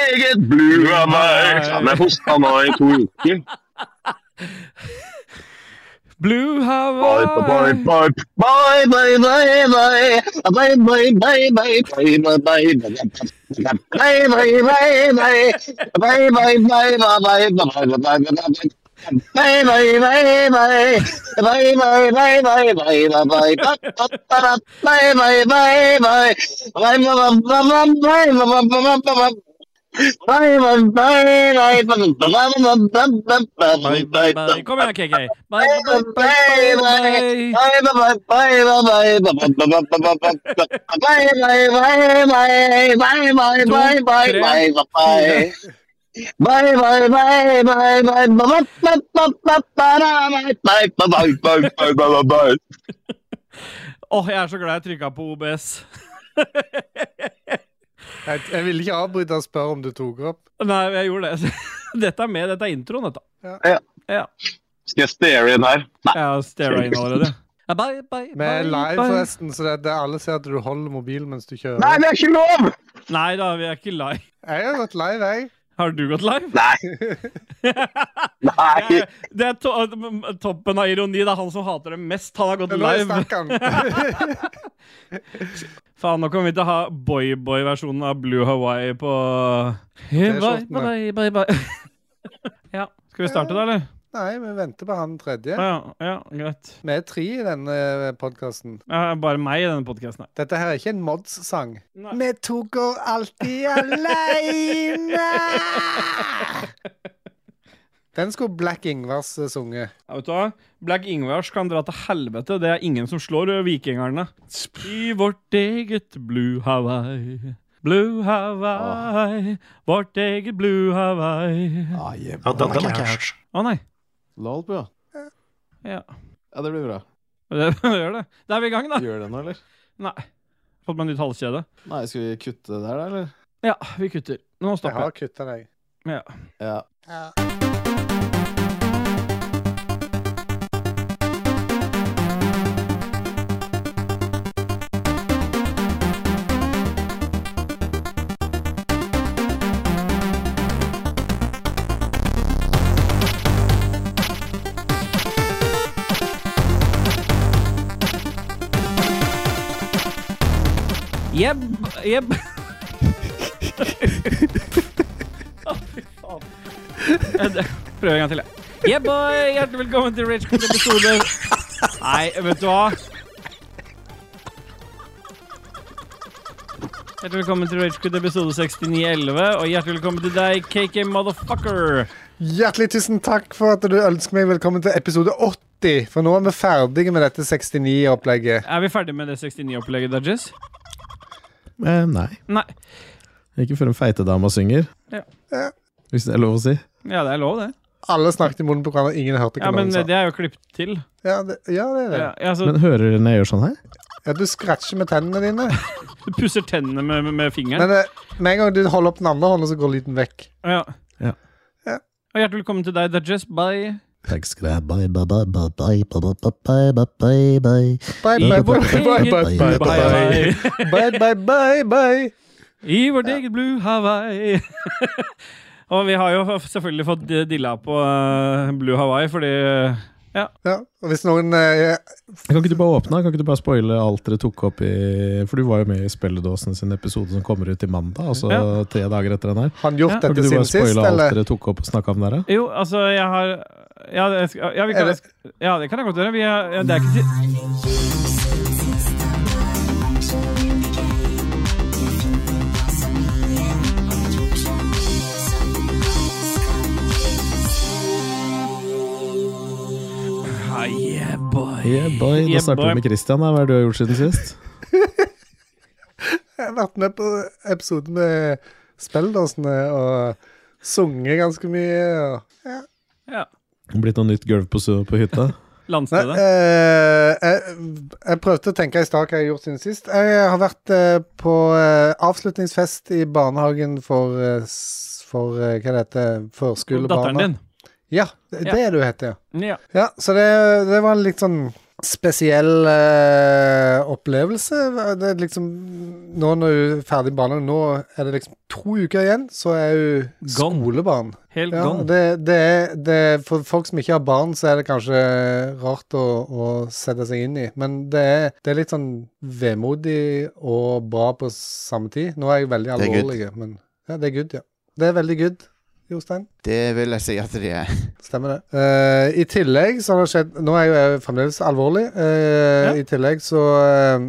meget blue av meg. Ja, men hosta nå i to uker. Blue Bye, bye, Hawaii. bye, bye, bye, bye, bye. Bye, bye, bye, bye, bye, bye, bye. Bye, bye, bye, bye. Bye, bye, bye, bye, bye, bye, bye, bye, bye. Bye, bye, bye, bye. Bye, bye, bye, bye, bye, bye, bye. Ba, ba, ba, ba. Bye, bye, bye, bye. Bye, ba, ba, ba, ba, bye, ba, ba, ba, ba, ba, ba. Bye, bye, bye, bye, ba, ba, ba, ba, ba, ba, ba. Bye, bye, bye. Kom igjen, KK. Bye, Bye, bye, bye, bye, bye, bye. Åh, jeg er så glad jeg trykka på OBS. Jeg, jeg ville ikke avbryte og spørre om du tok opp. Nei, jeg gjorde det. Dette er med. Dette er introen, dette. Skal jeg stare inn her? Nei. Jeg har stara inn allerede. Ja, Bye, bye, Vi er bye, live, bye. forresten, så det, det, alle ser at du holder mobilen mens du kjører. Nei, det er ikke lov! Nei da, vi er ikke live. Jeg har gått live, jeg. Har du gått live? Nei, nei. Det er, det er to toppen av ironi. Det er han som hater det mest. Han har gått Nå live. snakker han. Faen, nå kommer vi til å ha boy-boy-versjonen av Blue Hawaii på T-skjortene. Bye, bye, bye, bye. Ja. Skal vi starte, da, eller? Nei, vi venter på han tredje. Ja, ja greit. Vi er tre i denne podkasten. Ja, bare meg i denne podkasten. Dette her er ikke en Mods-sang. Nei. Vi to går alltid aleine! Den skulle Black Ingvars eh, sunge. Ja, vet du hva? Black Ingvars kan dra til helvete. Det er ingen som slår eh, vikingerne. I vårt eget Blue Hawaii. Blue Hawaii, vårt eget Blue Hawaii. Å Ah, yeah, Ja, den, den har ikke jeg hørt. nei. Lol, bro. Ja. Ja, det blir bra. Det gjør det. Da er vi i gang, da. Gjør det nå, eller? Nei. Fått meg nytt halskjede. Nei, skal vi kutte det der, da, eller? Ja, vi kutter. Nå Jeg stopper jeg. har kutta deg. Ja. Ja. Jeb, jeb. Prøv en gang til, jeg. Jeb, og hjertelig velkommen til Rage Quit episode Nei, vet du hva? Hjertelig velkommen til Rage Quit episode 6911, og hjertelig velkommen til deg, KK Motherfucker. Hjertelig tusen takk for at du ønsker meg velkommen til episode 80. For nå er vi ferdige med dette 69-opplegget. Er vi ferdig med det 69-opplegget, Dudges? Eh, nei. Nei. Ikke før en feitedame synger. Ja. Ja. Hvis det er lov å si. Ja, det er lov, det. Alle snakket i munnen på hverandre, ingen hørte hva Ja, Men noen sa. det er jo klippet til. Ja, det, ja, det er det. Ja, altså, ja, så Men hører dere når jeg gjør sånn her? Ja, du scratcher med tennene dine. du pusser tennene med, med, med fingeren. Men eh, med en gang du holder opp den andre hånda, så går lyden vekk. Ja. Ja. Ja. Og hjertelig velkommen til deg, Dudges. Bye. Takk skal du ha. Bye, I bye, bye, vårt bye, bye, eget- bye, bye, bye. Bye, bye, bye, bye. I vårt eget Blue Hawaii. Og vi har jo selvfølgelig fått eh, dilla på eh, Blue Hawaii, fordi eh, Ja, og hvis noen eh, Kan ikke du bare åpne? Kan ikke du bare spoile alt dere tok opp i For du var jo med i Spelledåsen sin episode som kommer ut i mandag, altså Ja. tre dager etter den her. har gjort Ja, Kan dette ikke du siden bare sist, spoile alt eller? dere tok opp og snakka om der, da? Jo, altså, jeg har Ja, det, skal- ja, vi kan, Er det- ja, det kan jeg godt gjøre. Vi er, ja, det er ikke til Ah, yeah, boy. Yeah, boy. Yeah, Da starter boy. vi med Christian. da. Hva er det du har gjort siden sist? Jeg har vært med på episoden med Spelldåsene og sunget ganske mye. Og, ja. Ja. Blitt noe nytt gulv på, su- på hytta? Nei, Landstedet. eh, jeg, jeg prøvde å tenke i stad hva jeg har gjort siden sist. Jeg har vært eh, på eh, avslutningsfest i barnehagen for, eh, s- for eh, hva det heter førskolebarna. Datteren din. Ja, det, Ja. det er det hun heter, ja. Ja. ja så det, det var litt sånn spesiell eh, opplevelse. Det er liksom Nå når hun er ferdig i barnehagen, nå er det liksom to uker igjen, så er hun Gone. skolebarn. Helt Ja, gone. det, det er, det er, for folk som ikke har barn, så er det kanskje rart å, å sette seg inn i. Men det er, det er litt sånn vemodig og bra på samme tid. Nå er jeg veldig Det er good. alvorlig, men ja, det er good, ja. Det er veldig good, Jostein. Det vil jeg si at de er. Stemmer det. Eh, I tillegg så har det skjedd Nå er jo jeg fremdeles alvorlig. Eh, Ja. I tillegg så eh,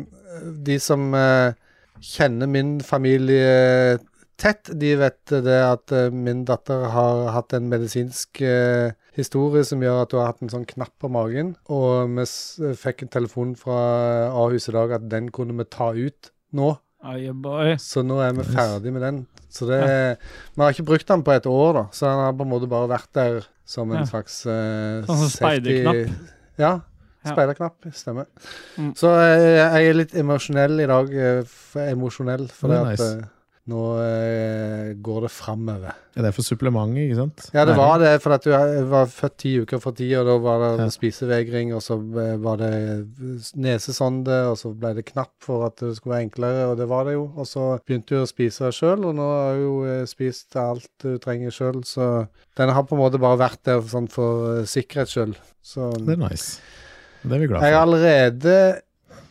De som eh, kjenner min familie tett, de vet det at eh, min datter har hatt en medisinsk eh, historie som gjør at hun har hatt en sånn knapp på magen. Og vi s fikk en telefon fra Ahus i dag at den kunne vi ta ut nå. Aye, boy. Så nå er vi ferdig med den. Så det Vi har ikke brukt den på et år, da. Så den har på en måte bare vært der som en Ja. slags eh, Sånn som safety- speiderknapp. Ja. Ja. Speiderknapp. Stemmer. Mm. Så eh, jeg er litt emosjonell i dag. eh, f- emosjonell, for Det det er at nice. eh, nå eh, går det framover. Ja, det er for supplementet, ikke sant? Ja, det Nei. var det, for at du er- var født ti uker for ti, og da var det Ja. spisevegring, og så eh, var det nesesonde, og så ble det knapp for at det skulle være enklere, og det var det jo. Og så begynte hun å spise sjøl, og nå har hun jo eh, spist alt du trenger sjøl, så den har på en måte bare vært der sånn for eh, sikkerhets skyld. Så Det er nice. Det er vi glad jeg har for. allerede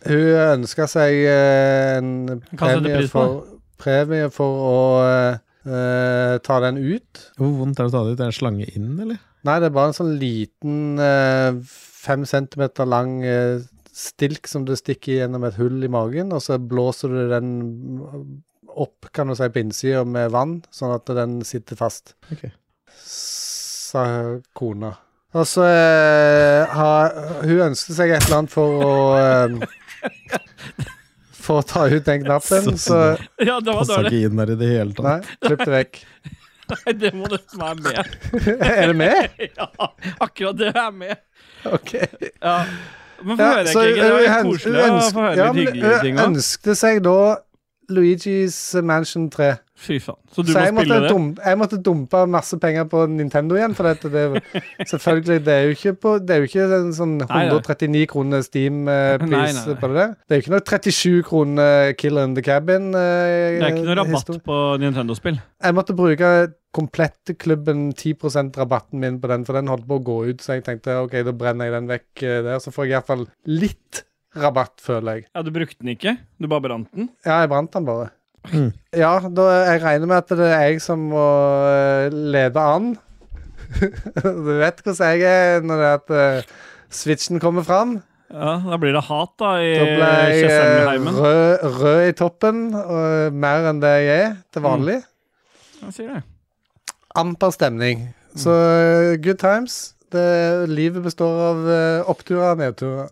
Hun ønska seg eh, en Hva setter premie pris på? for, premie for å eh, eh, ta den ut. Hvor vondt er det å ta det ut? Er det en slange inn, eller? Nei, det er bare en sånn liten eh, fem centimeter lang eh, stilk som du stikker gjennom et hull i magen, og så blåser du den opp, kan du si, på innsida med vann, sånn at den sitter fast, Ok. sa kona. Og så eh, har hun ønsket seg et eller annet for å eh, For å ta ut den knappen, så Ja, det var Passer dårlig. ikke inn der i det hele tatt. Nei, klipp det vekk. Nei, det må nesten være med. er det med? Ja, akkurat det er med. OK. Ja. Men få Ja, høre, så Kikki. Det var hun litt øns- koselig å ønsk- få høre ja, litt men eh, hyggelige hun ting òg. ønskte seg da Luigi's Mansion 3. Fy faen. Så du Så må jeg måtte, spille det? dum, jeg måtte dumpe masse penger på Nintendo igjen. For dette, det, selvfølgelig, det er jo ikke, på, det er jo ikke en sånn nei. 139 kroner Nei, nei, Steam-pris nei. på det der. Det er jo ikke noe 37 kroner Killer in the Cabin. Det er ikke noe rabatt på Nintendo-spill. Jeg måtte bruke Komplettklubben 10 %-rabatten min på den, for den holdt på å gå ut, så jeg tenkte ok, da brenner jeg den vekk eh, der. Så får jeg iallfall litt rabatt, føler jeg. Ja, du brukte den ikke. Du bare brant den. Ja, jeg brant den bare. Mm. Ja, da, jeg regner med at det er jeg som må eh, lede an. du vet hvordan jeg er når det er at eh, switchen kommer fram. Ja, Da blir det hat, da, i Da ble jeg eh, Tjessheimheimen. rød, rød i toppen, og eh, mer enn det jeg er til vanlig. Jeg sier det. Amper stemning. Så eh, good times. Det, livet består av eh, oppturer og nedturer.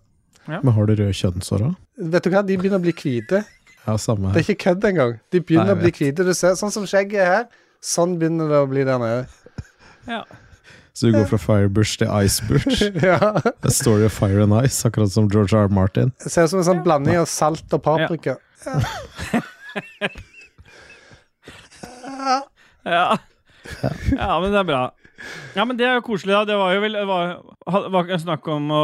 Men har du røde kjønnsår òg? Vet du hva, de begynner å bli hvite. Ja, samme Det her. er ikke kødd engang. De begynner Nei, jeg å bli hvite. Du ser, sånn som skjegget er her, sånn begynner det å bli der nede. Ja. Så du går fra Firebush til Icebush? ja. A story of fire and ice, akkurat som George R. R. Martin. Det ser ut som en sånn blanding av salt og paprika. Ja. ja, men det er bra. Ja, men Det er jo koselig. da. Det var jo vel det var, ha- var ikke snakk om å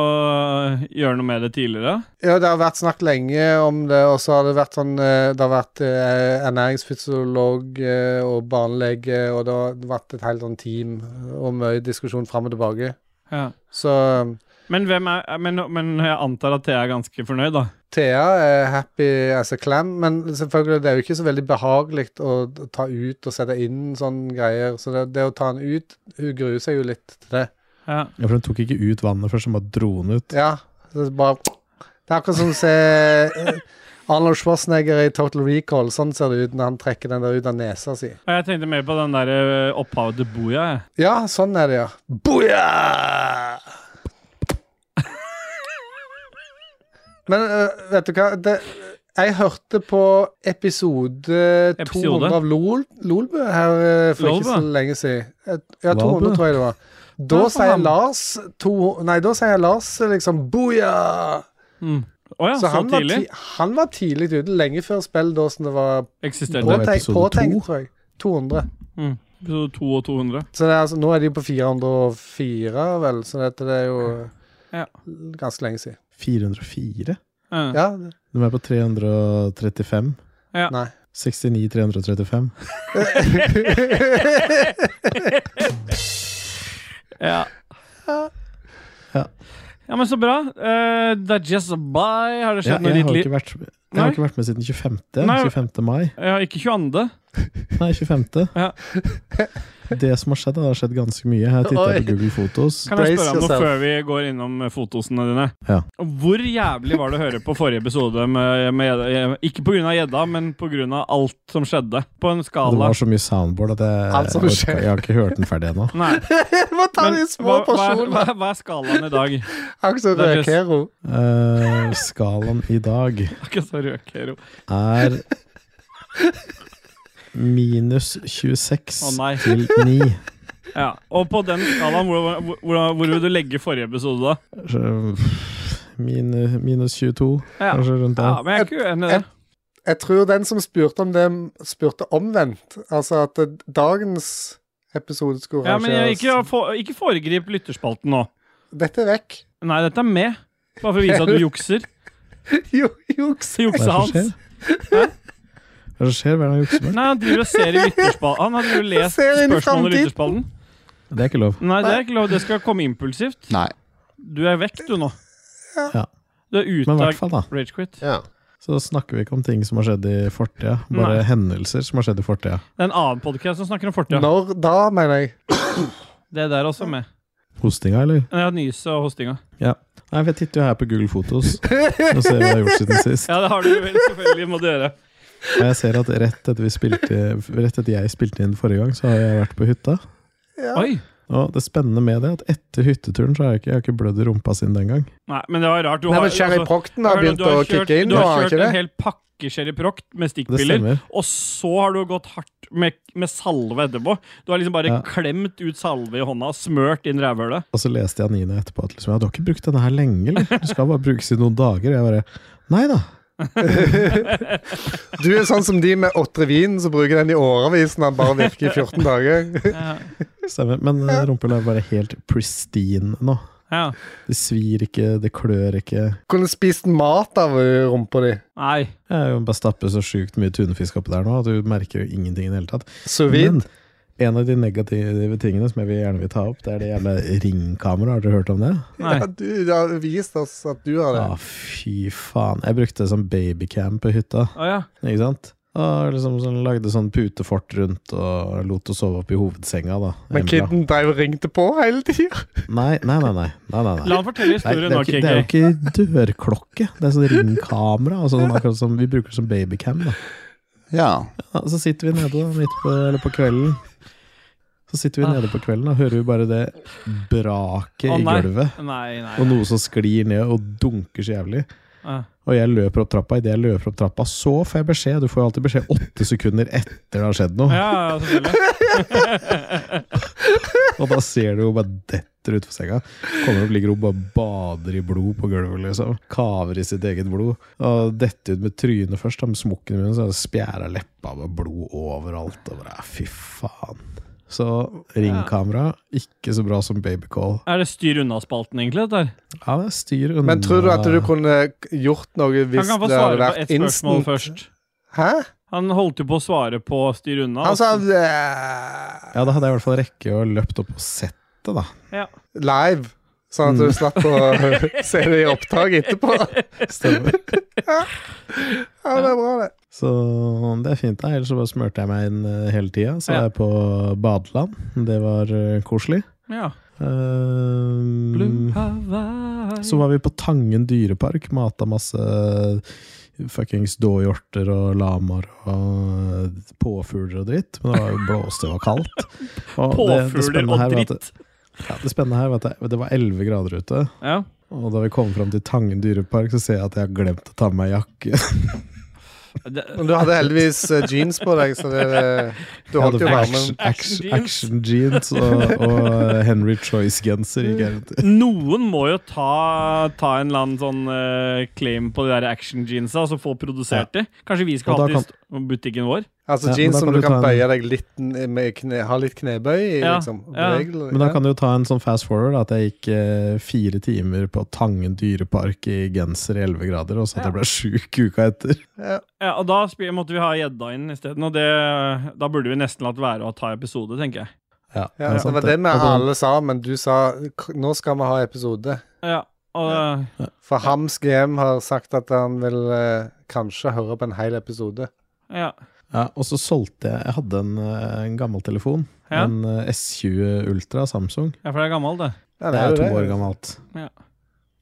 eh, gjøre noe med det tidligere. Ja, det har vært snakk lenge om det, og så har det vært sånn eh, Det har vært eh, ernæringsfysiolog eh, og barnelege, og det har vært et helt sånn team og mye diskusjon fram og tilbake. Ja. Så um, Men, hvem er, eh, men, men jeg antar at Thea er ganske fornøyd, da. Thea er happy as a clam, men selvfølgelig, det er jo ikke så veldig behagelig å ta ut og sette inn sånne greier, så det, det å ta den ut Hun gruer seg jo litt til det. Ja. Ja, for hun tok ikke ut vannet først, hun bare dro den ut. Ja. Det er, bare, det er akkurat som å se eh, Arnold Schwarzenegger i Total Recall. Sånn ser det ut når han trekker den der ut av nesa si. Og jeg tenkte mer på den der ø, opphavet til Boja. jeg. Ja, sånn er det, ja. Booyah! Men eh, vet du hva det, Jeg hørte på episode, Episode? 200 av Lol, Lolbø her eh, for ikke så Lolbø? lenge siden. Et- Ja, 200 Lolbø? tror jeg det var. Da Ja, for sier ham. Lars to, Nei, da sier Lars eh, liksom booyah! Mm. Å ja, Så så, han var, tidlig? ti han var tidlig ute, lenge før spilledåsen det var Eksisterte På- det? påtenkt, episode påtenkt to? tror jeg. 200. Mm. Episode 2 og 200. Så det er, altså, nå er de på 404, vel, så dette det er jo Ja. ganske lenge siden. 404? Ja. Ja, De er på 335. nei. 69 335. Ja. Ja. ja, men så bra. Eh, det er just a bye. Har det Ja, skjedd noe i jeg, ditt har liv? ikke vært, jeg har Nei. ikke vært med siden 25. Nei. 25. mai. Ja, ikke 22. Nei, 25. Ja. Det som har skjedd, det har skjedd ganske mye. Jeg har titta Oi. på Google Fotos. Kan jeg Brace spørre om noe yourself. før vi går innom eh, fotosene dine? Ja. Hvor jævlig var det å høre på forrige episode med, med Ikke pga. gjedda, men pga. alt som skjedde. På en Det skala var så mye soundboard at jeg, Alt som jeg, orker- skjer. jeg har ikke hørt den ferdig ennå. Nei, Jeg må ta men de hva, små hva, er- hva, porsjonene. hva er skalaen i dag? Akkurat som Det er just- Røkero. Eh, skalaen i dag Akkurat så røker hun. er minus 26 Å, nei. til 9. Ja. Og på den skalaen, hvor, hvor, hvor, hvor vil du legge forrige episode, da? Så, pff, Minus, minus 22, Ja. kanskje rundt Ja, der. men jeg er ikke uenig i det. Jeg tror den som spurte om det, spurte omvendt. Altså at eh, dagens episode skulle Ja, men jeg, ikke, arrangeres- for- ikke foregrip lytterspalten nå. Dette er vekk. Nei, dette er med. Bare for å vise at du jukser. Jo, juks. Så juksa Hva er hans. det som Hva er det som skjer? Hva er det han jukser med? Nei, han driver og ser i lytterspalten. Han har driver og lest Ser inn i spørsmål i framtid. lytterspalten. Det er ikke lov. Nei, det er ikke lov. Det skal komme impulsivt. Nei. Du er vekk, du nå. Ja. Du er ute Men i hvert av fall, da. ragequit. Ja. Så snakker vi ikke om ting som har skjedd i fortida, bare Nei. hendelser som har skjedd i fortida. Det er en annen podkast som snakker om fortida. Når da, mener jeg. Det der er også med. Hostinga, eller? Ja, Nyse og hostinga. Nei, for jeg titter jo her på Google Fotos og ser hva jeg har gjort siden sist. Ja, det har du jo vel selvfølgelig må du gjøre. Og jeg ser at rett etter, vi spilte, rett etter jeg spilte inn forrige gang, så har jeg vært på hytta. Oi! Og det spennende med det er at etter hytteturen så har jeg ikke, jeg har ikke blødd i rumpa siden den gang. Nei, men det var rart. Du Nei, har, men Sherry altså, Procton har hør nå, begynt du å kjørt- kicke inn Du nå, har har han kjørt ikke en det? hel pakke Sherry Proct med Det stikkpiller, stemmer. og så har du gått hardt med, med salve etterpå. Du har liksom bare Ja. klemt ut salve i hånda og smørt inn rævhølet. Og så leste jeg Nina etterpå at liksom, ja, du har ikke brukt denne her lenge, eller? Du skal bare brukes i noen dager. Og jeg bare Nei da. Du er sånn som de med åtre vin som bruker den i årevis når den bare virker i 14 dager. Eh. Ja. Stemmer. Men eh, rumpehullet er bare helt pristine nå. Ja. Det svir ikke, det klør ikke. Kunne spist mat av eh, rumpa di. Nei. Jeg er jo bare stapper så sjukt mye tunfisk oppi der nå at du merker jo ingenting i det hele tatt. Sous Men vide. en av de negative tingene som jeg vil gjerne vil ta opp, det er det jævla ringkameraet. Har dere hørt om det? Nei. Ja, du du har vist oss at du har Å, det. fy faen. Jeg brukte det som babycam på hytta, Å ja. ikke sant? Og liksom sånn, lagde sånn putefort rundt og lot henne sove opp i hovedsenga, da. Men Emila. kiden drev og ringte på hele tida. Nei, nei, nei. nei, nei, nei, nei. La han fortelle Nei, det, historien er nå, jo ikke, det er jo KK. ikke dørklokke. Det er sånn ringkamera. Altså sånn akkurat som, vi bruker det som babycam. da Ja. Ja, så sitter vi nede da, midt på, eller på kvelden. Så sitter vi Ah. nede på kvelden og hører vi bare det braket Å, i nei. gulvet. Nei, nei. Og noe som sklir ned og dunker så jævlig. Ja. Og jeg løper opp trappa. Idet jeg løper opp trappa, så får jeg beskjed. Du får jo alltid beskjed åtte sekunder etter det har skjedd noe. Ja, ja, selvfølgelig. Og da ser du jo bare detter utfor senga. Kommer opp, ligger hun bare bader i blod på gulvet, liksom. Kaver i sitt eget blod. Og detter ut med trynet først, da, med smokken i munnen, så er det spjæra leppa med blod overalt. Og bare, ja, fy faen. Så ringkamera, ikke så bra som babycall. Er det styr unna-spalten, egentlig? dette her? Ja, det er styr unna. Men tror du at eh, du kunne gjort noe Han hvis kan få det hadde svare på vært ett spørsmål instant? først. Hæ? Han holdt jo på å svare på styr unna. Han sa altså. eh, Ja, da hadde jeg i hvert fall rekke å løpt opp og sett det, da. ja. live, sånn at Mm. du slapp å se det i opptak etterpå. Stemmer. Ja, det er bra, det. Så det er fint, da. Ellers så bare smurte jeg meg inn eh, hele tida. Så Ja. jeg er på badeland. Det var eh, koselig. ja. Ehm, Blue Hawaii. Så var vi på Tangen dyrepark, mata masse eh, fuckings dåhjorter og lamaer og eh, påfugler og dritt. Men det var jo blåste og kaldt. Og Påfugler spennende og her var at dritt. Det, ja, det spennende her var at det, det var 11 grader ute. Ja. Og da vi kom fram til Tangen dyrepark, så ser jeg at jeg har glemt å ta med meg jakke. Det, Men du hadde heldigvis eh, jeans på deg, så det, eh, du holdt jo Jeg hadde varmen. action, Action action jeans og, og Henry Choice-genser. Mm. gikk jeg rundt i. noen må jo ta, ta en eller annen sånn eh, claim på de der action jeansa, så få produsert de. Kanskje vi skal Og ha da det i st- butikken vår? Altså Ja, men jeans da som kan du du kan ta en- bøye deg litt n- med kne, Ha litt knebøy i, Ja, liksom. ja. Regel, Men da ja. kan du jo ta en sånn fast forward, da, at jeg gikk eh, fire timer på Tangen dyrepark i genser i 11 grader, og så at jeg ble sjuk uka etter. Ja. Ja, og da spi- måtte vi ha gjedda inn isteden, og det, da burde vi nesten latt være å ta episode, tenker jeg. Ja, Ja, det var det vi alle sa, men du sa "K- nå skal vi ha episode. Ja, og For Hams GM har sagt at han vil eh, kanskje høre på en hel episode. ja. Ja, og så solgte jeg Jeg hadde en, eh, en gammel telefon. Ja. En eh, S20 Ultra Samsung. ja, for det er gammelt, det. Ja, Det er jo to år gammelt. Ja.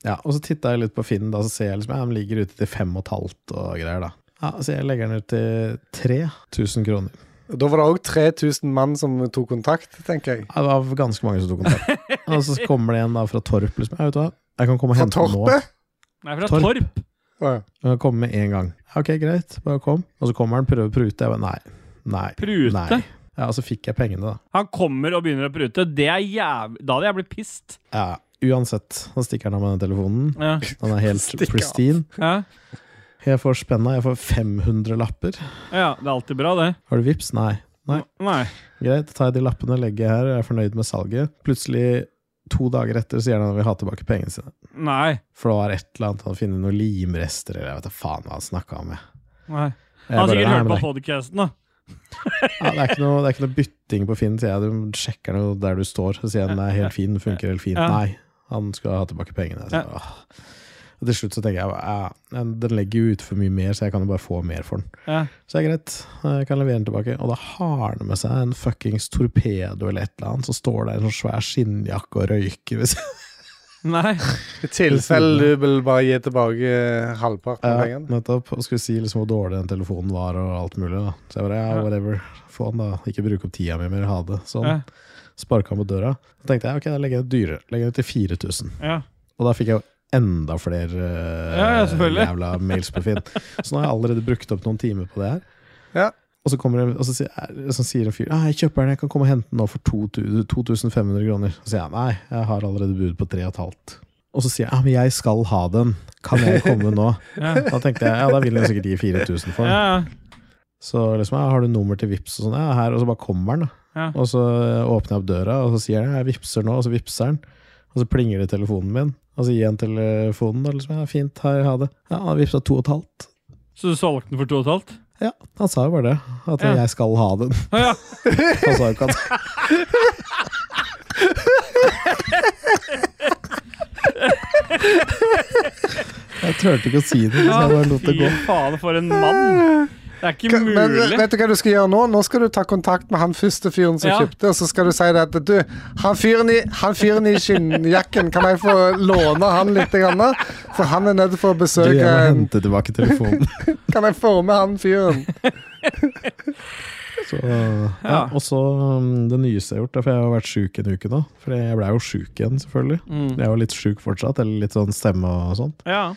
Ja, og så titta jeg litt på Finn, da, så ser jeg liksom ja, den ligger ute til fem og et halvt og greier, da. Ja, Så jeg legger den ut til 3000 kroner. Og Da var det òg 3000 mann som tok kontakt, tenker jeg. Ja, Det var ganske mange som tok kontakt. og så kommer det en da fra Torp, liksom. Ja, vet du hva, jeg kan komme og Fra hente den nå. Torpet? Nei, fra Torp. Torp. Å, ja. Jeg kan komme med en gang. Ja, Ok, greit, bare kom. Og så kommer han, prøver å prute. Jeg bare nei, nei, Prute. nei. Ja, og så fikk jeg pengene, da. Han kommer og begynner å prute. Det er jæv... Da hadde jeg blitt pissed. Ja, uansett. Da stikker han av med den telefonen. Ja. Den er helt Stikk av. pristine. Ja. Jeg får spenna, jeg får 500 lapper. ja, det er alltid bra, det. Har du vips? Nei. Nei. Nei. Greit, tar jeg de lappene, legger jeg her, jeg er fornøyd med salget. Plutselig, to dager etter, sier han at han vil ha tilbake pengene sine. Nei. For det var et eller annet, han finner noen limrester, eller jeg vet da faen hva han snakka om. Jeg. Nei. Jeg Han har bare, sikkert nei, hørt men på det- podkasten, da. Ja, det, er ikke noe, det er ikke noe bytting på Finn, sier jeg. Du sjekker noe der du står, så sier han det er helt fin, det funker helt fint. Ja. Nei, han skal ha tilbake pengene. Så, åh. Og til slutt så tenker jeg bare, ja, den legger jo ut for mye mer, så jeg kan jo bare få mer for den. Ja. Så det er greit, jeg kan levere den tilbake. Og da har han med seg en fuckings torpedo eller et eller annet, så står det en sånn svær skinnjakke og røyker. ved siden- Nei. I tilfelle du vil bare gi tilbake eh, halvparten av Ja, pengene. nettopp. Og skulle si liksom hvor dårlig den telefonen var og alt mulig. da. Så jeg bare, ja, Ja. whatever. Få den, da. Ikke bruke opp tida mi mer, ha det. Sånn. Ja. sparka på døra. Så tenkte jeg ok, da legger jeg ut dyrere. Legger jeg ut til 4000. Ja. Og da fikk jeg jo enda flere eh, Ja, ja, selvfølgelig. jævla mails på Finn. Så nå har jeg allerede brukt opp noen timer på det her. Ja. Og så, kommer det, og så, sier, er- så sier en fyr Nei, jeg kjøper den, jeg kan komme og hente den nå for 2000 2500 kroner. Så sier jeg nei, jeg har allerede bud på 3500. Og så sier jeg ja, men jeg skal ha den, kan jeg komme nå? Ja. Da tenkte jeg ja, da vil jeg sikkert gi 4000 for den. Ja. Så liksom, ja, har du nummer til Vips og sånn? Ja, her, og så bare kommer han. da. Ja. Og så eh, åpner jeg opp døra, og så sier han, jeg vipser nå, og så vipser han. Og så plinger det i telefonen min, og så gir han telefonen, og liksom, ja, fint, her, ha det. Ja, han vipsa to og et halvt. Så du solgte den for to og et halvt? Ja, han sa jo bare det, at Ja. jeg skal ha den. Å, Ja. Han sa jo ikke at, jeg tørte ikke å si det, så jeg bare lot det Fy gå. faen, for en mann! Det er ikke Ka- Men eh, mulig. vet du hva du skal gjøre nå? Nå skal du ta kontakt med han første fyren som Ja. kjøpte, og så skal du si det at du, han fyren i, han fyren i skinnjakken, kan jeg få låne han litt? Grann, da? for han er nødt for å Du, jeg besøke må en hente tilbake telefonen. Kan jeg få med han fyren? Så, ja, og så um, det nyeste jeg har gjort, er for jeg har vært sjuk en uke nå. For jeg ble jo sjuk igjen, selvfølgelig. Mm. Jeg var litt sjuk fortsatt, eller litt sånn stemme og sånt. Ja.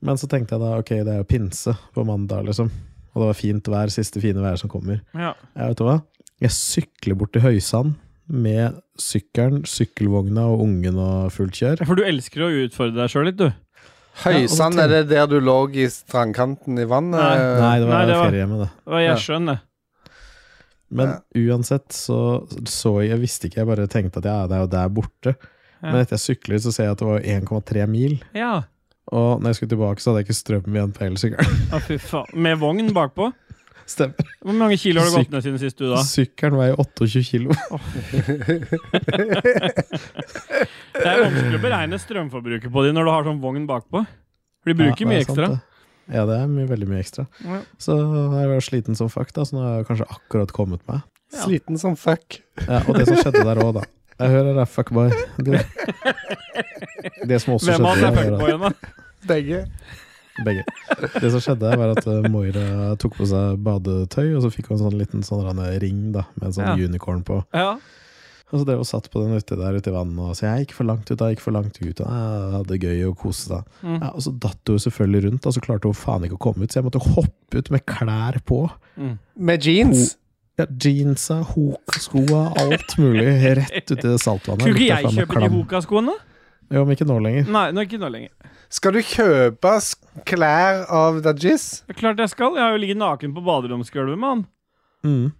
Men så tenkte jeg da, ok, det er jo pinse på mandag, liksom. Og det var fint vær, siste fine vær som kommer. ja. Jeg vet du hva? Jeg sykler bort til Høysand med sykkelen, sykkelvogna og ungen og fullt kjør. For du elsker å utfordre deg sjøl litt, du. Høysand, er det der du lå i strandkanten i vannet? Nei. Nei, det var, Nei, det var- feriehjemmet, det. Og Ja. jeg skjønner. Men uansett så så jeg, jeg visste ikke, jeg bare tenkte at ja, det er jo der borte. Ja. Men etter jeg sykler, så ser jeg at det var 1,3 mil. Ja. Og når jeg skulle tilbake, så hadde jeg ikke strøm igjen på elsykkelen. Å, fy faen. Med vogn bakpå? Stemmer. Hvor mange kilo har du Syk- gått ned siden sist, du, da? Sykkelen veier 28 kilo. Det er vanskelig å beregne strømforbruket på de når du har sånn vogn bakpå. For de bruker Ja, det mye er sant, ekstra. det. Ja, det er mye, veldig mye ekstra. Ja. Så jeg var sliten som fuck, da, så nå har jeg kanskje akkurat kommet meg. Ja. Sliten som fuck. Ja, og det som skjedde der òg, da. Jeg hører deg, fuckboy. Du. Det som også Hvem av oss skjedde er der, var at- fuckboyen, da? Begge. Begge. Det som skjedde, der var at eh, Moira tok på seg badetøy, og så fikk hun en sånn liten sånn rande ring da, med en sånn Ja. unicorn på. Ja. Og så drev og satt på den ute der ute i vannet og sa jeg gikk for langt ut, jeg gikk for langt ut, og "Ah, jeg hadde det gøy og koste seg. Mm. Ja, og så datt hun selvfølgelig rundt, og så klarte hun faen ikke å komme ut, så jeg måtte hoppe ut med klær på. Med jeans. Ja, jeansa, hok, skoa, alt mulig, rett ut i det saltvannet. Skulle ikke Lukta faen jeg meg kjøpe de klam. Hoka-skoene? Jo, men ikke nå lenger. Nei, nå, ikke nå lenger. Skal du kjøpe s- klær av Dajis? Det er Klart jeg skal. Jeg har jo ligget naken på baderomsgulvet med han. Mm.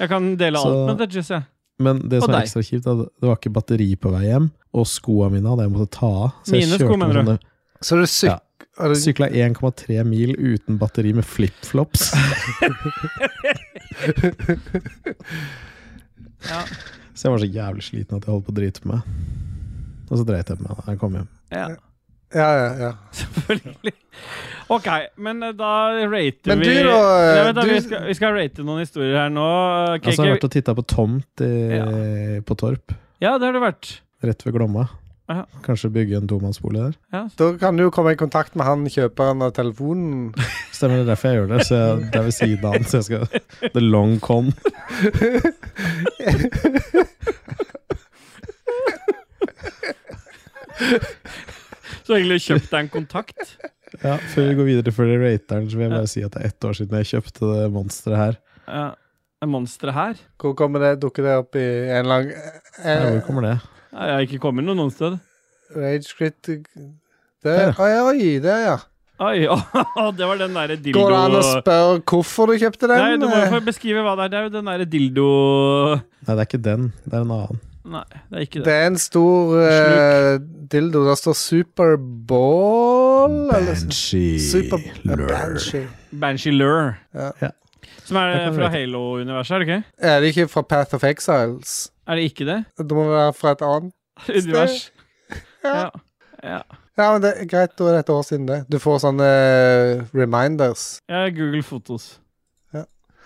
Jeg kan dele Så- alt med Dudges, jeg. Men det Og som er deg. ekstra kjipt, er at det var ikke batteri på vei hjem, og skoa mine hadde jeg måttet ta av. Så jeg Mine sko, kjørte med mener du? sånne- Så du syk... Ja. sykla 1,3 mil uten batteri med flipflops. Ja. Så jeg var så jævlig sliten at jeg holdt på å drite på meg. Og så dreit jeg på meg da jeg kom hjem. Ja, Ja, ja, ja. selvfølgelig. Ok, men eh, da rater Men vi du da, Ja, vent da, du- vi, skal, vi skal rate noen historier her nå. eh, KK. Altså, jeg har vært og titta på tomt i, på Torp, Ja, det har det vært. rett ved Glomma. Ja. Kanskje bygge en tomannsbolig der. Da kan du jo komme i kontakt med han kjøperen av telefonen. Stemmer det er derfor jeg gjør det. Så jeg, det er ved siden av den. Så jeg skal The long con. Så egentlig kjøpte jeg en kontakt. Ja, før vi går videre til Freddy Rateren, så vil jeg bare si at det er ett år siden jeg kjøpte det monsteret her. Ja, en monster her. Hvor kommer det, dukker det opp i en lang Ja, eh, hvor kommer det? Ja, Jeg har ikke kommet noen noen sted. Rage crit Det, Der, oi, oi, der, ja. Oi, å, det var den derre dildo... Går det an å spørre hvorfor du kjøpte den? Nei, du må jo få beskrive hva det er. Det er jo den derre dildo... Nei, det er ikke den. Det er en annen. Nei, det er ikke Det det. er en stor eh, dildo. Der står Superball eller Banshee Super Lure. Banshee. Banshee Lure. Ja. Ja. Som er Det kan vi fra vite. Halo-universet, er det ikke? Er det ikke fra Path of Exiles? Er det ikke det? Det må være fra et annet Univers? Ja. Ja. ja. Ja, men det er greit, da er det et år siden det. Du får sånne eh, reminders. Ja, Google Fotos. Ja.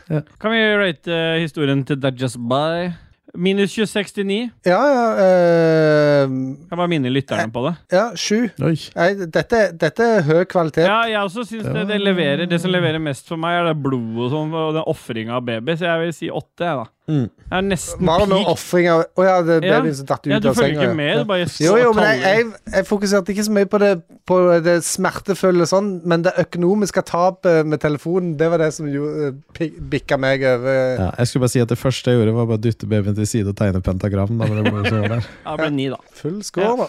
Ja. Kan vi rate eh, historien til That Just By? Minus 2069. Ja, ja eh, Kan bare minne lytterne på det. Ja, sju. Oi. Nei, dette, dette er høy kvalitet. Ja, jeg også synes det, det leverer Det som leverer mest for meg, er det blodet og sånn, og den ofringa av baby, så jeg vil si åtte, jeg, da. Mm. Jeg er nesten Var det noen peak. ofringer Å ja, det er Ja. babyen som datt ut Ja, du av følger senga. ikke med, ja. du bare Jo, jo, men jeg, jeg, jeg fokuserte ikke så mye på det, på det smertefulle sånn, men det økonomiske tapet med telefonen, det var det som jo, eh, pi- bikka meg over. eh, Ja, jeg skulle bare si at det første jeg gjorde, var bare å dytte babyen til side og tegne pentagram. Da, men det ble så der. Ja, det ble ni, da. Full score, da.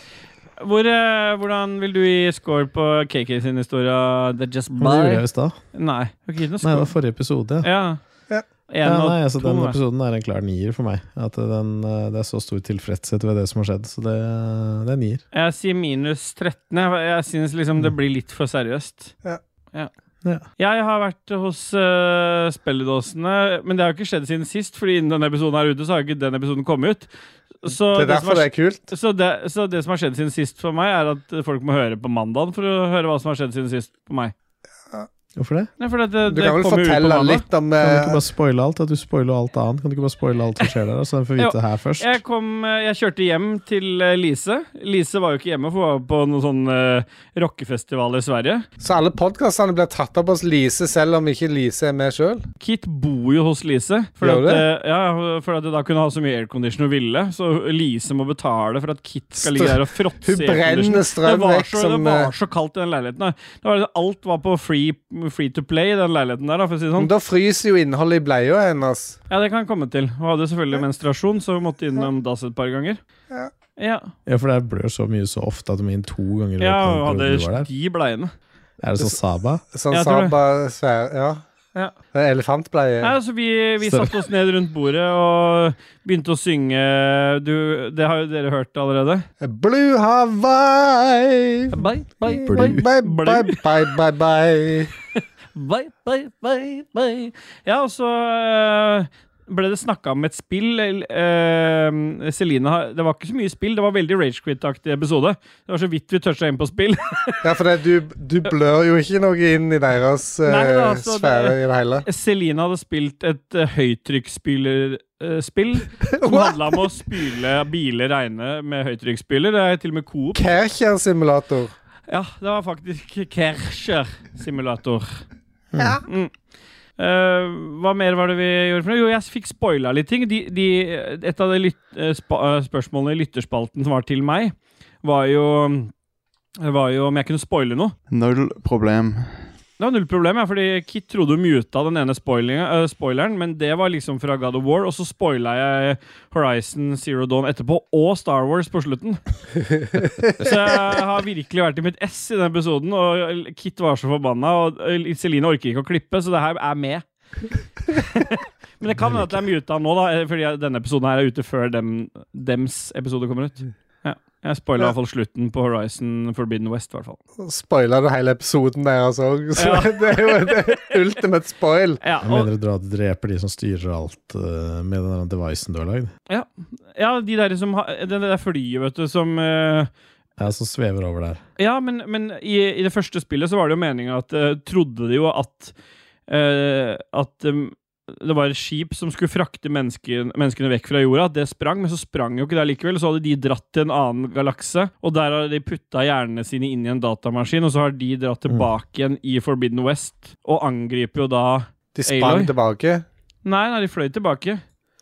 Hvor, eh, hvordan vil du gi score på KK sin historie? The Just Men det gjorde jeg By? i stad. Nei, du har ikke gitt noe Nei, det var score. forrige episode. Ja. Ja. Ja. En Ja, og nei, altså, to, den da. episoden er en klar nier for meg. At den, eh, det er så stor tilfredshet ved det som har skjedd, så det, eh, det er nier. Jeg sier minus 13. Jeg, jeg syns liksom det blir litt for seriøst. Mm. Ja. Ja. Ja. Jeg har vært hos uh, spilledåsene, men det har jo ikke skjedd siden sist. Fordi innen denne episoden er ute, så har jo ikke den episoden kommet ut. Så som Det er har derfor det er kult. skj- så, det, så det som har skjedd siden sist for meg, er at folk må høre på mandagen for å høre hva som har skjedd siden sist på meg. Hvorfor det? Nei, for det, det, Du kommer kan vel jo ut på fortelle mandag. litt om Kan du eh, ikke bare spoile alt? At du spoiler alt annet? Kan du ikke bare spoile alt som skjer der, og så den får vite det her først? Jeg, kom, eh, jeg kjørte hjem til eh, Lise. Lise var jo ikke hjemme, for hun var på noen sånn uh, rockefestival i Sverige. Så alle podkastene blir tatt opp hos Lise, selv om ikke Lise er med sjøl? Kit bor jo hos Lise, for, Gjør at, det? eh, ja, for at da kunne ha så mye aircondition hun ville. Så Lise må betale for at Kit skal ligge Stå- der og fråtse Hun i aircondition. brenner Det strøm var, vekk så, det som eh, var så kaldt i den leiligheten. Der. Det var, liksom- alt var på free, free to play i den leiligheten der, da, for å si det men sånn. Da fryser jo innholdet i bleia hennes. Ja, det kan jeg komme til. Hun hadde selvfølgelig menstruasjon, så hun måtte innom dass et par ganger. Ja. Ja, Ja, for det blør så mye så ofte at du må inn to ganger. i ja løpet hun av den perioden hadde du var der. de bleiene. Er det sånn Saba? Sånn Jeg tror det. Saba-sfære. Ja. Ja. Det er Elefantbleie. Nei, altså vi, vi Sorry. satte oss ned rundt bordet og begynte å synge du, Det har jo dere hørt allerede. Blue Hawaii. Bye, bye, Blue. bye. Bye, Blue. bye, bye, bye, bye. Bye, bye, bye, bye. Ja, og så eh, ble det snakka om et spill. eh, Celine har Det var ikke så mye spill, det var veldig ragequit-aktig episode. Det var så vidt vi toucha inn på spill. Ja, for det, du, du blør jo ikke noe inn i deres eh, Nei, da, altså, sfære det- i det hele. Celine hadde spilt et uh, høytrykksspylerspill som What? handla om å spyle biler reine med høytrykksspyler. Det er til og med Coop. Kercher-simulator. Ja, det var faktisk Kercher-simulator. Mm. Eh, hva mer var det vi gjorde? for noe? Jo, jeg fikk spoila litt ting. De, de, et av de lyt, eh, spa, eh, spørsmålene i lytterspalten som var til meg, var jo, var jo om jeg kunne spoile noe. Null problem. Det var null problem, ja, fordi Kit trodde hun muta den ene spoilinga- eh, spoileren, men det var liksom fra God of War, og så spoila jeg Horizon Zero Dawn etterpå, og Star Wars på slutten. så jeg har virkelig vært i mitt ess i den episoden, og eh, Kit var så forbanna, og Celine orker ikke å klippe, så det her er med. Men det kan hende at det er muta nå, da, eh, fordi denne episoden her er ute før dem, dems episode kommer ut. Ja. Jeg spoila i hvert fall slutten på Horizon Forbidden West. i hvert fall. Spoiler du hele episoden deres òg, så Ja. det er jo et ultimate spoil. Ja, Jeg og, mener du at du dreper de som styrer alt eh, med den der devicen du har lagd? ja de der som har Det der flyet, vet du, som eh, Jeg som svever over der. Ja, men, men i, i det første spillet så var det jo meninga at eh, Trodde de jo at eh, At em, det var et skip som skulle frakte mennesken, menneskene vekk fra jorda. At det sprang, men så sprang jo ikke det likevel. Så hadde de dratt til en annen galakse, og der har de putta hjernene sine inn i en datamaskin, og så har de dratt tilbake igjen i Forbidden West, og angriper jo da De sprang Aloy? tilbake. Nei, nei, de fløy tilbake.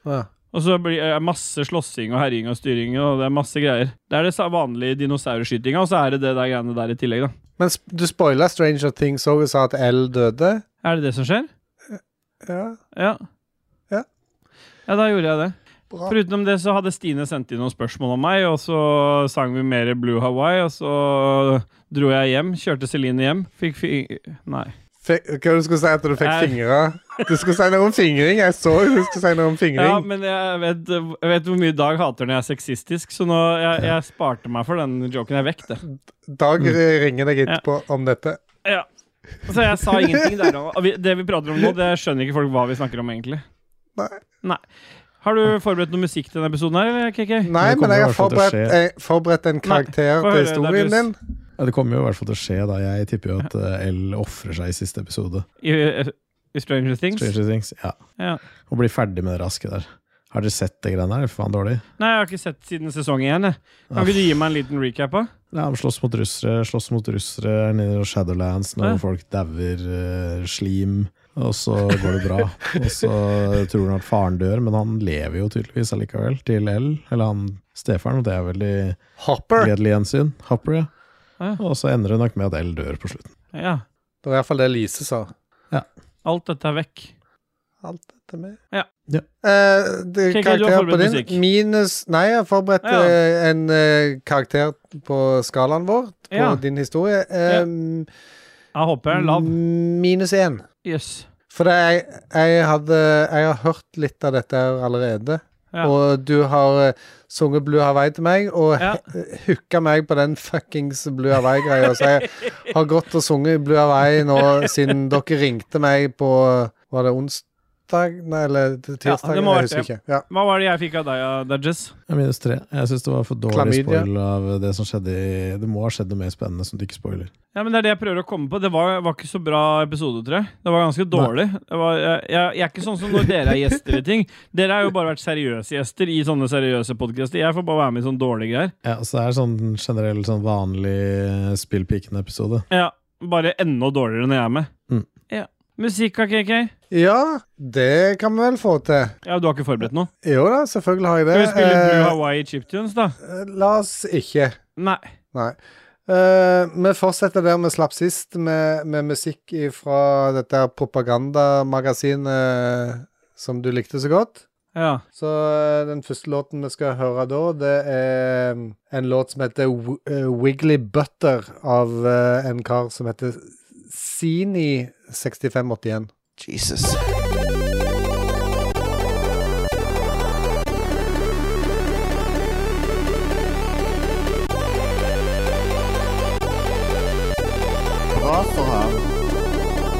Ja. Og så blir det masse slåssing og herjing og styring og det er masse greier. Det er det sa- vanlige dinosaurskytinga, og så er det det der greiene der i tillegg, da. Men sp du spoila Stranger Things òg og sa at L døde. Er det det som skjer? Ja, Ja. Ja. Ja, da gjorde jeg det. bra. For utenom det så hadde Stine sendt inn noen spørsmål om meg, og så sang vi mer Blue Hawaii, og så dro jeg hjem. Kjørte Celine hjem. Fikk fi... Nei. Fikk, hva du skulle si at du fikk Jeg- fingre? Du skulle si noe om fingring. Jeg så du skulle si noe om Ja, fingring. men jeg vet, jeg vet hvor mye Dag hater når jeg er sexistisk, så nå jeg, jeg sparte meg for den joken. Jeg vekk det. Dag ringer deg etterpå om dette. Ja. Så jeg sa ingenting der og vi- Det vi prater om nå, det skjønner ikke folk hva vi snakker om, egentlig. Nei. Har du forberedt noe musikk til denne episoden her, eller, KK? Nei, Det kommer men jeg i har hvert fall til å forberedt, eh, forberedt en karakter få til høre, det er historien du s- din. Ja, det kommer jo i hvert fall til å skje, da. Jeg tipper jo at eh, L ofrer seg i siste episode. I, i Stranger Things? Stranger Things. Ja. Ja. Og blir ferdig med det raske der. Har dere sett det greiene der? Det er Faen dårlig. Nei, jeg har ikke sett siden sesong én. jeg. Kan ikke du gi meg en liten recap? da? Ja, han slåss mot russere, slåss mot russere er nede i Shadowlands når Ja. folk dauer eh, slim, og så går det bra. og så tror han at faren dør, men han lever jo tydeligvis allikevel, til L, eller han stefaren, og det er veldig Hopper. gledelig gjensyn. Hopper, ja. Ja. Og så ender det nok med at L dør på slutten. Ja. Det var i hvert fall det Lise sa. Alt dette er vekk. Alt dette med. Ja. Ja. Eh, det, Kjekke, du har karakter på forberedt din musikk. minus Nei, jeg har forberedt Ja, ja. eh, en eh, karakter på skalaen vår, på Ja. din historie. Eh, Jeg håper jeg er Mm. lav. Minus én. Jøss. For det, jeg, jeg, hadde, jeg har hørt litt av dette her allerede. Ja. Og du har eh, sunget Blue Hawaii til meg, og Ja. he- hooka meg på den fuckings Blue Hawaii-greia. Så jeg har gått og sunget Blue Hawaii nå siden dere ringte meg på Var det onsdag? Nei, eller tirsdag? det må ha jeg vært husker ikke. Ja. Hva var det jeg fikk av deg, Dudges? Ja, minus tre. Jeg syns det var for dårlig Klamydia. spoil av det som skjedde i Det må ha skjedd noe mer spennende som du ikke spoiler. Ja, men Det er det jeg prøver å komme på. Det var, var ikke så bra episode, tror jeg. Det var ganske dårlig. Det var, jeg, jeg, jeg er ikke sånn som når dere er gjester i ting. Dere har jo bare vært seriøse gjester i sånne seriøse podkaster. Jeg får bare være med i sånne dårlige greier. Ja, så det er sånn generell, sånn vanlig eh, Spillpiken-episode. Ja, Bare enda dårligere når jeg er med. Mm. Ja. Musikk, KK? ja, det kan vi vel få til. Ja, du har ikke forberedt noe? Jo da, selvfølgelig har jeg Skal det. vi spille Blue Eh, Hawaii Chiptunes, da? La oss ikke. Nei. Nei. Eh, vi fortsetter der vi slapp sist, med, med musikk fra dette her propagandamagasinet eh, som du likte så godt. Ja. Så eh, den første låten vi skal høre da, det er eh, en låt som heter W- eh, Wiggly Butter av eh, en kar som heter Sini6581. Jesus. Bra for ham.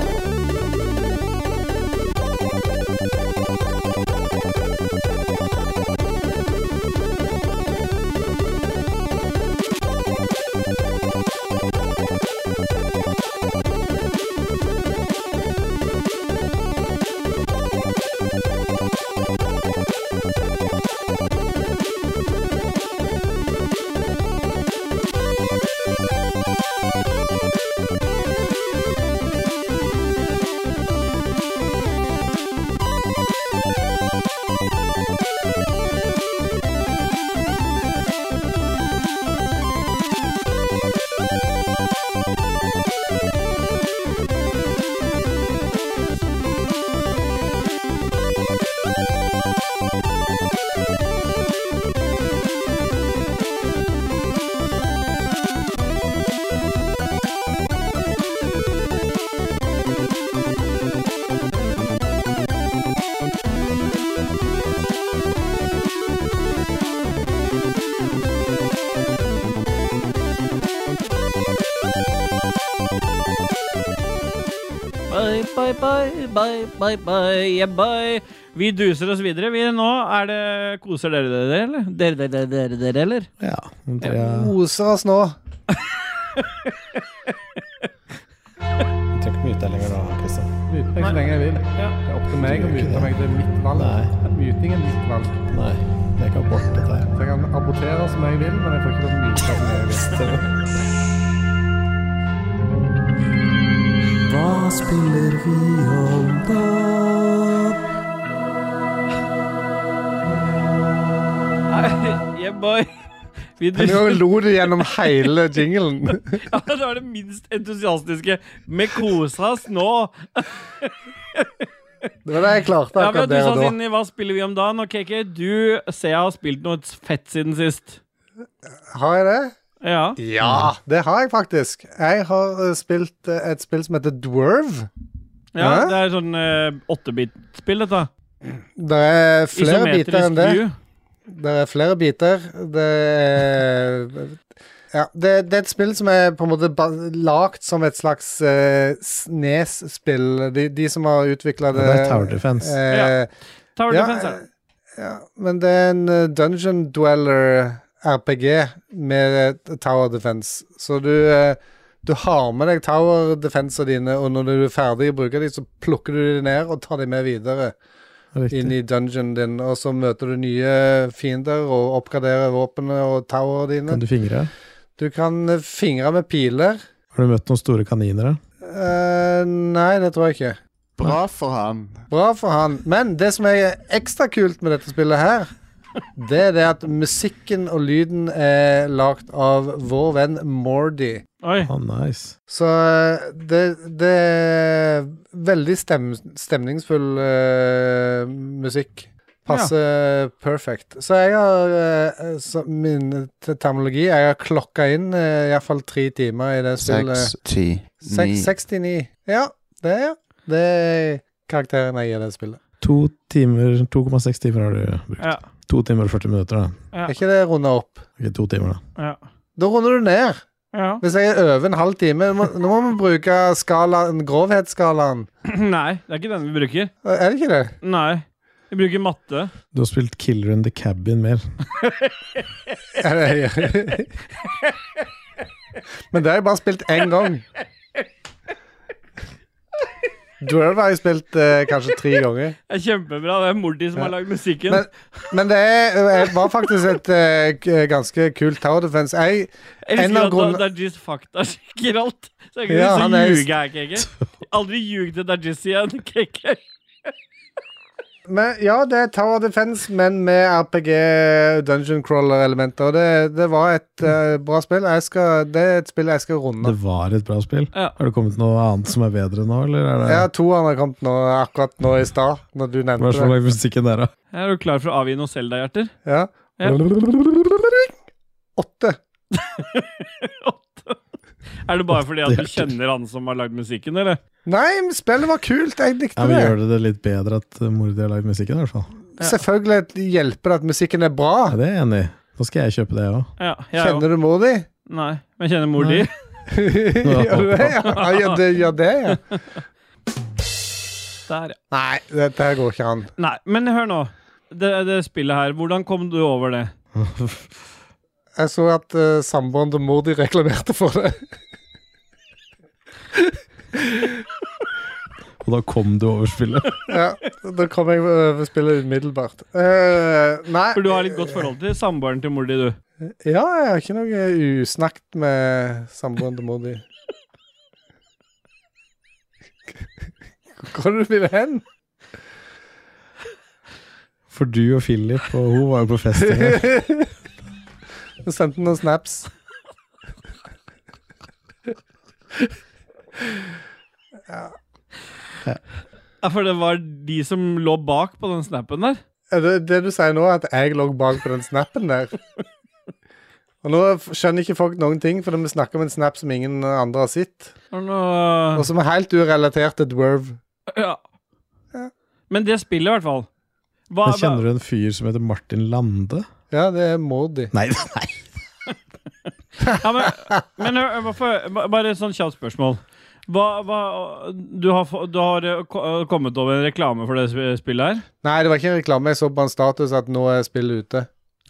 bye, bye, bye, bye, bye, yeah, bye. Vi duser oss videre. Vi nå er det Koser dere dere, eller? Dere, dere, dere, dere, eller? Ja. nå tror jeg- Koser oss nå. jeg trenger ikke mute deg lenger da, Kristian. Myte meg så lenge jeg vil. Ja. Det er opp til meg å myte meg. Det er mitt valg. Nei. Myting er mitt valg. Nei, det er ikke abort, dette her. Så jeg kan abortere som jeg vil, men jeg får ikke lov til å myte som jeg vil. Nei, Yeah, boy. Vi Men nå duser lo du gjennom hele jinglen. Ja, det var det minst entusiastiske. Med koser oss nå. Det var det jeg klarte Ja, men akkurat du der sa og da. siden i Hva spiller vi om dagen? Og KK, du ser jeg har spilt noe fett siden sist. Har jeg det? Ja. Ja, det har jeg faktisk. Jeg har eh, spilt eh, et spill som heter Dwerve. ja Hæ? det er sånn åttebit-spill, dette. Det er flere Isometrisk biter enn det. view. Det er flere biter. Det er ja, det, det er et spill som er på en måte ba- lagt som et slags eh, Snes-spill. De, de som har utvikla det Det er Tower Defense. eh, Tower Ja, eh, Defense, er det. ja, men det er en eh, Dungeon Dweller RPG med eh, Tower Defense. Så du, eh, du har med deg Tower Defensa dine, og når du er ferdig å bruke dem, så plukker du dem ned og tar dem med videre inn Riktig. i dungeonen din, og så møter du nye fiender og oppgraderer våpenet og towerne dine. Kan du fingre? Du kan eh, fingre med piler. Har du møtt noen store kaniner, da? Eh, nei, det tror jeg ikke. Bra for han. Bra for han. Men det som er ekstra kult med dette spillet her, det er det at musikken og lyden er lagd av vår venn Mordy. Oi. Ah, nice. Så eh, det, det er veldig stem, stemningsfull eh, musikk. Passer perfekt. Så jeg har eh, så min te- terminologi Jeg har klokka inn eh, i hvert fall tre timer i det spillet. Seks, ti, ni Seks- 69. Ja, det er Det er karakteren jeg gir det spillet. To timer 2,6 timer har du brukt. Ja. To timer og 40 minutter, da. Ja. Er ikke det runda opp? Ikke to timer, da. Ja. Da runder du ned. ja. Hvis jeg er over en halv time må, Nå må vi bruke skalaen, grovhetsskalaen. Nei, det er ikke den vi bruker. Er det ikke det? Nei. Vi bruker matte. Du har spilt Killer in the Cabin mer. Ja, det gjør- Men det har jeg bare spilt én gang. Dwerve har jeg spilt eh, kanskje tre ganger. Det er kjempebra. Det er Morty som har lagd musikken. Men, men det er, eh, var faktisk et eh, k- ganske kult Tower Defense. Jeg, Jeg en elsker av at grunnene- da- Dajis faktasjekker alt. Så jeg kan Ja, så han er- ljuger jeg ikke, ikke. Aldri ljug til Dajis igjen, KK. men, ja, det er Tower Defense, men med RPG dungeon crawler-elementer. Og det, det var et eh, bra spill. Jeg skal, det er et spill jeg skal runde. Mm. Det var et bra spill. Ja. Har det kommet noe annet som er bedre nå, eller er det Ja, to andre kom nå, akkurat nå i stad, når du Hva nevnte er så det. slags musikken der, da? Er du klar for å avgi noen Selda-hjerter? Ja. Ja. Åtte. Er det bare fordi at du hjerter. kjenner han som har lagd musikken, eller? Nei, men spillet var kult. Jeg Ja, likte men det. Gjør det det litt bedre at uh, Mordi har lagd musikken, i hvert fall? Selvfølgelig hjelper det at musikken er Ja, bra. det er jeg enig i. Nå skal jeg kjøpe det, jeg òg. Ja, jeg er jo. Kjenner du mor di? Nei, men jeg kjenner mor di. Gjør du det? Ja, Ja, gjør det, gjør det, ja. Der, ja. Nei, dette her går ikke an. Nei, men hør nå. Det, det spillet her, hvordan kom du over det? Jeg så at uh, samboeren til mor di reklamerte for det. Og da kom du over spillet. Ja, Da kom jeg over spillet umiddelbart. Eh, nei For du har litt godt forhold til samboeren til mor di, du. Ja, jeg har ikke noe usnakket med samboeren til mor di. Hvor er det du vil hen? For du og Philip, og hun var jo på fest. i går. Hun sendte noen snaps. Ja, For det var de som lå bak på den snappen der. Er det, det du sier nå, er at jeg lå bak på den snappen der. Og nå f- skjønner ikke folk noen ting, for vi snakker om en snap som ingen andre har sett. Og nå- Og som er helt urelatert til Dwerve. Ja. Men det spillet, i hvert fall. Hva, Men Kjenner du en fyr som heter Martin Lande? Ja, det er Mordi. Nei, nei. Ja, men, men hør, hvorfor, ba- bare et sånn kjapt spørsmål. Hva, hva, du har, få- du har eh, ko- eh, kommet over en reklame for det sp- spillet her? Nei, det var ikke en reklame. Jeg så på en status at nå er spillet ute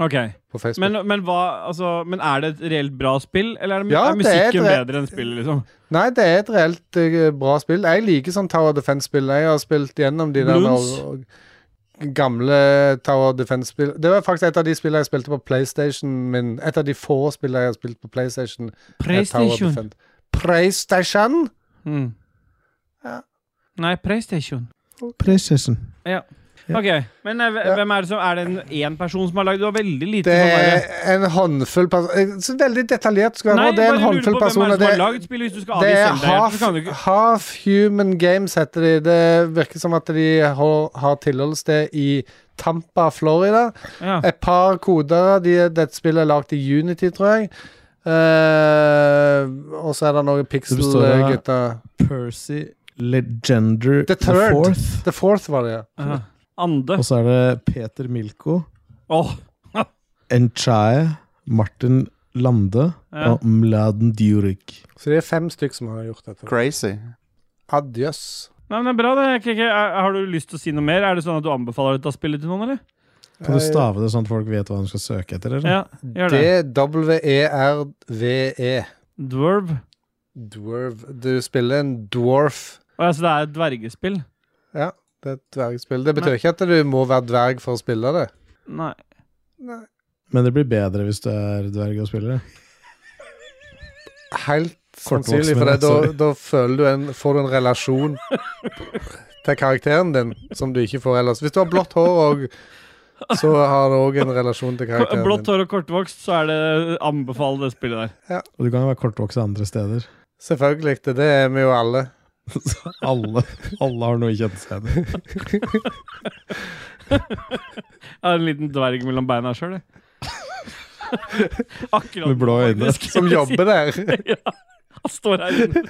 Ok, på Facebook. men, men, hva, altså, men er det et reelt bra spill, eller er, det, er Ja, det er et musikken re- bedre enn spillet, liksom? Nei, det er et reelt eh, bra spill. Jeg liker sånn Tower Defense-spill. Jeg har spilt gjennom de der Bloons? og- og gamle Tower Defense-spill. Det var faktisk et av de spillene jeg spilte på PlayStation min. Et av de få spillene jeg har spilt på PlayStation. er Tower PlayStation. Defense. PlayStation? Mm. Ja. Nei, PlayStation. Precision. Ok, men eh, hvem er det som Er det en- én person som har lagd Du har veldig lite Det sånn er derre- en håndfull personer Så veldig detaljert skal det Nei, være. Det er bare lurer på en håndfull hvem er det som har personer. Det, lagd spillet, hvis du skal det avgi er selvdeilighet, half, så kan du ikke half Human Games, heter de. Det virker som at de har, har tilholdssted i Tampa, Florida. ja. Et par koder. De, dette spillet er lagd i Unity, tror jeg. Eh, og så er det noen eh, består av- pixel-gutter. Percy Legender The Third. The Fourth var det, ja. Ja. Ande. Og så er det Peter Milko, Åh, Enchaye, Martin Lande Ja. og Mladen Djuric. Så det er fem stykk som har gjort dette. Crazy. Adjøs. Nei, men det er bra, det. Kiki. Er- Har du lyst til å si noe mer? Er det sånn at du anbefaler dette spillet til noen, eller? Kan du stave det sånn at folk vet hva de skal søke etter? Eller? Ja, gjør det. E D-W-E-R-V-E. Dwerv. E. Dwarf. Du spiller en dwarf. Å, ja, så det er et dvergespill? Ja, det er et dvergspill. Det betyr ikke at du må være dverg for å spille det. Nei. Men det blir bedre hvis du er dverg og spiller. det. Helt Kortvoksen, sannsynlig, for det, da, sorry. da føler du en, får du en relasjon til karakteren din som du ikke får ellers. Hvis du har blått hår òg, så har du òg en relasjon til Ko- karakteren Blått din. hår og kortvokst, så er det anbefale det spillet der. Og du kan jo være kortvokst andre steder. Selvfølgelig. Det, det er vi jo alle. Så alle, alle har noe kjønnssteder. Jeg har en liten dverg mellom beina sjøl, jeg. Akkurat. Med blå øyne. faktisk. Som jobber der. ja, han står her inne.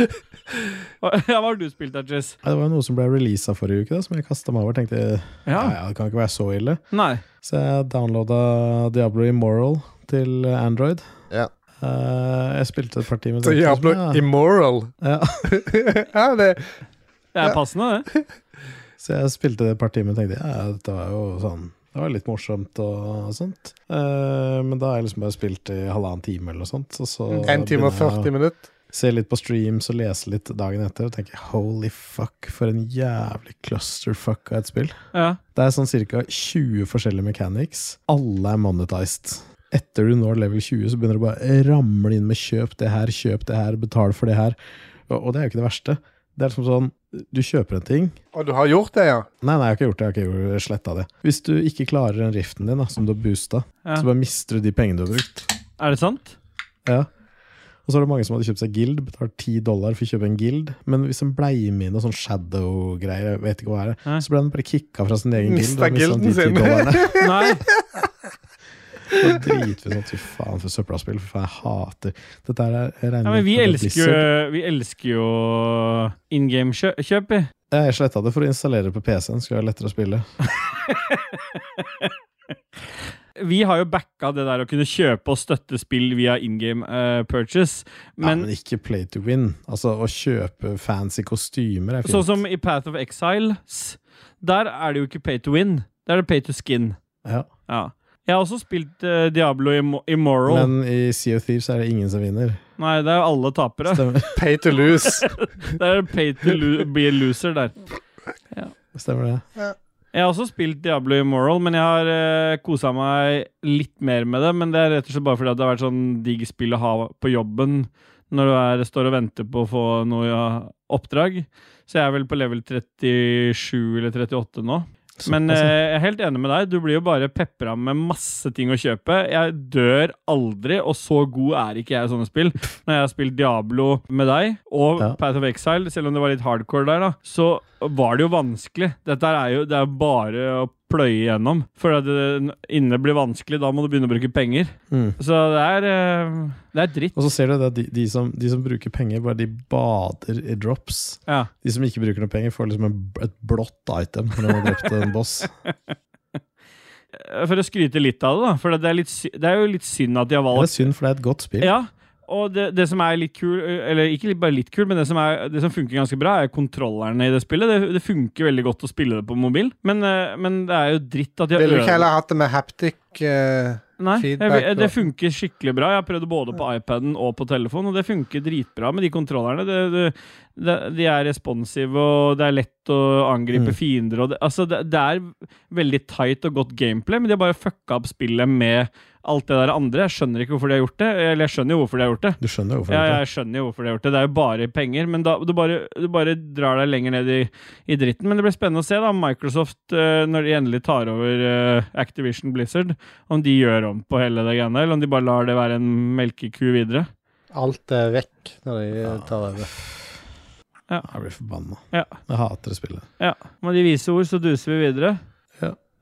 Ja, hva har du spilt der, Jess? Det var jo noe som ble releasa forrige uke, da, som jeg kasta meg over. Tenkte ja, ja, det kan ikke være så ille. Nei. Så jeg downloada Diablo Immoral til Android. Ja. Eh, jeg spilte et par timer Så jævla ja. immoral. Ja. ja, det Det er passende, det. Så jeg spilte det et par timer og tenkte ja, dette var jo sånn Det var litt morsomt og sånt. Eh, men da har jeg liksom bare spilt i halvannen time eller noe sånt. Og så En time og begynner jeg å 40 minutter. Se litt på streams og lese litt dagen etter og tenke holy fuck, for en jævlig clusterfuck av et spill. Ja. Det er sånn ca. 20 forskjellige mechanics. Alle er monetized. Etter du når level 20, så begynner det bare å ramle inn med kjøp det her, kjøp det her, betal for det her. Og, og det er jo ikke det verste. Det er liksom sånn, du kjøper en ting, Og du har gjort det, ja? Nei, nei, jeg har ikke gjort det. Jeg har ikke sletta det. Hvis du ikke klarer den riften din, da, som du har boosta, Ja. så bare mister du de pengene du har brukt. Er det sant? Ja. Og så er det mange som hadde kjøpt seg guild, betalt 10 dollar for å kjøpe en guild. Men hvis en blei med i noe sånn shadow-greier, jeg vet ikke hva det Nei. er, så ble den bare kicka fra sin egen Mista guild. guilden sin. Det Nei. var dritfint. sånn, Fy faen, for søppelspill. For faen, jeg hater Dette her er jeg regner Ja, men med vi at det er elsker jo, Blizzard. vi elsker jo in game-kjøp, vi. Ja, Jeg sletta det for å installere det på PC-en, skulle være lettere å spille. Vi har jo backa det der å kunne kjøpe og støtte spill via in game purchase, ja, men men ikke play to win. Altså, å kjøpe fancy kostymer er fint. sånn som i Path of Exiles, der er det jo ikke pay to win. Der er det pay to skin. ja. Ja. Jeg har også spilt eh, Diablo Immo- Immoral. Men i Sea of Thieves er det ingen som vinner. Nei, det er jo alle tapere. Stemmer, Pay to lose. Det er pay to lo be a loser der. stemmer det? Jeg har også spilt Diablo Immoral, men jeg har uh, kosa meg litt mer med det. Men det er rett og slett bare fordi at det har vært sånn digg spill å ha på jobben når du er, står og venter på å få noe ja, oppdrag. Så jeg er vel på level 37 eller 38 nå. Men Altså- eh, jeg er helt enig med deg. Du blir jo bare pepra med masse ting å kjøpe. Jeg dør aldri, og så god er ikke jeg i sånne spill. Når jeg har spilt Diablo med deg og Ja. Path of Exile, selv om det var litt hardcore der, da, så var det jo vanskelig. Dette her er jo det er jo bare å pløye gjennom. For at det inne blir vanskelig, da må du begynne å bruke penger. Mm. Så det er, eh, det er dritt. Og så ser du det at de, de, som, de som bruker penger, bare de bader i drops. Ja. De som ikke bruker noe penger, får liksom en, et blått item når de har drept en boss. For å skryte litt av det, da. For det er, litt, sy- det er jo litt synd at de har Det valgt er synd, for det er et godt spill. Ja, Og det, det som er litt kul, eller ikke litt, bare litt kul, men det som, er, det som funker ganske bra, er kontrollerne i det spillet. Det, det funker veldig godt å spille det på mobil, men, eh, men det er jo dritt at de har Ville du ødelagt- ikke heller hatt det med haptic eh, Nei, feedback jeg, det og- funker skikkelig bra. Jeg har prøvd det både på iPaden og på telefon, og det funker dritbra med de kontrollerne. Det, det, det, de er responsive, og det er lett å angripe Mm. fiender. Og det, altså, det, det er veldig tight og godt gameplay, men de har bare fucka opp spillet med alt det der andre. Jeg skjønner ikke hvorfor de har gjort det. Eller jeg skjønner jo hvorfor de har gjort det. Du skjønner jo hvorfor. Ja, det er jeg skjønner jo hvorfor de har gjort det. Det er jo bare penger. Men da, du, bare, du bare drar deg lenger ned i, i dritten. Men det blir spennende å se da om Microsoft, eh, når de endelig tar over eh, Activision Blizzard, om de gjør om på hele det greiene, eller om de bare lar det være en melkeku videre. Alt er vekk når de tar over. Jeg blir forbanna. Ja. Jeg hater det spillet. Med de vise ord så duser vi videre.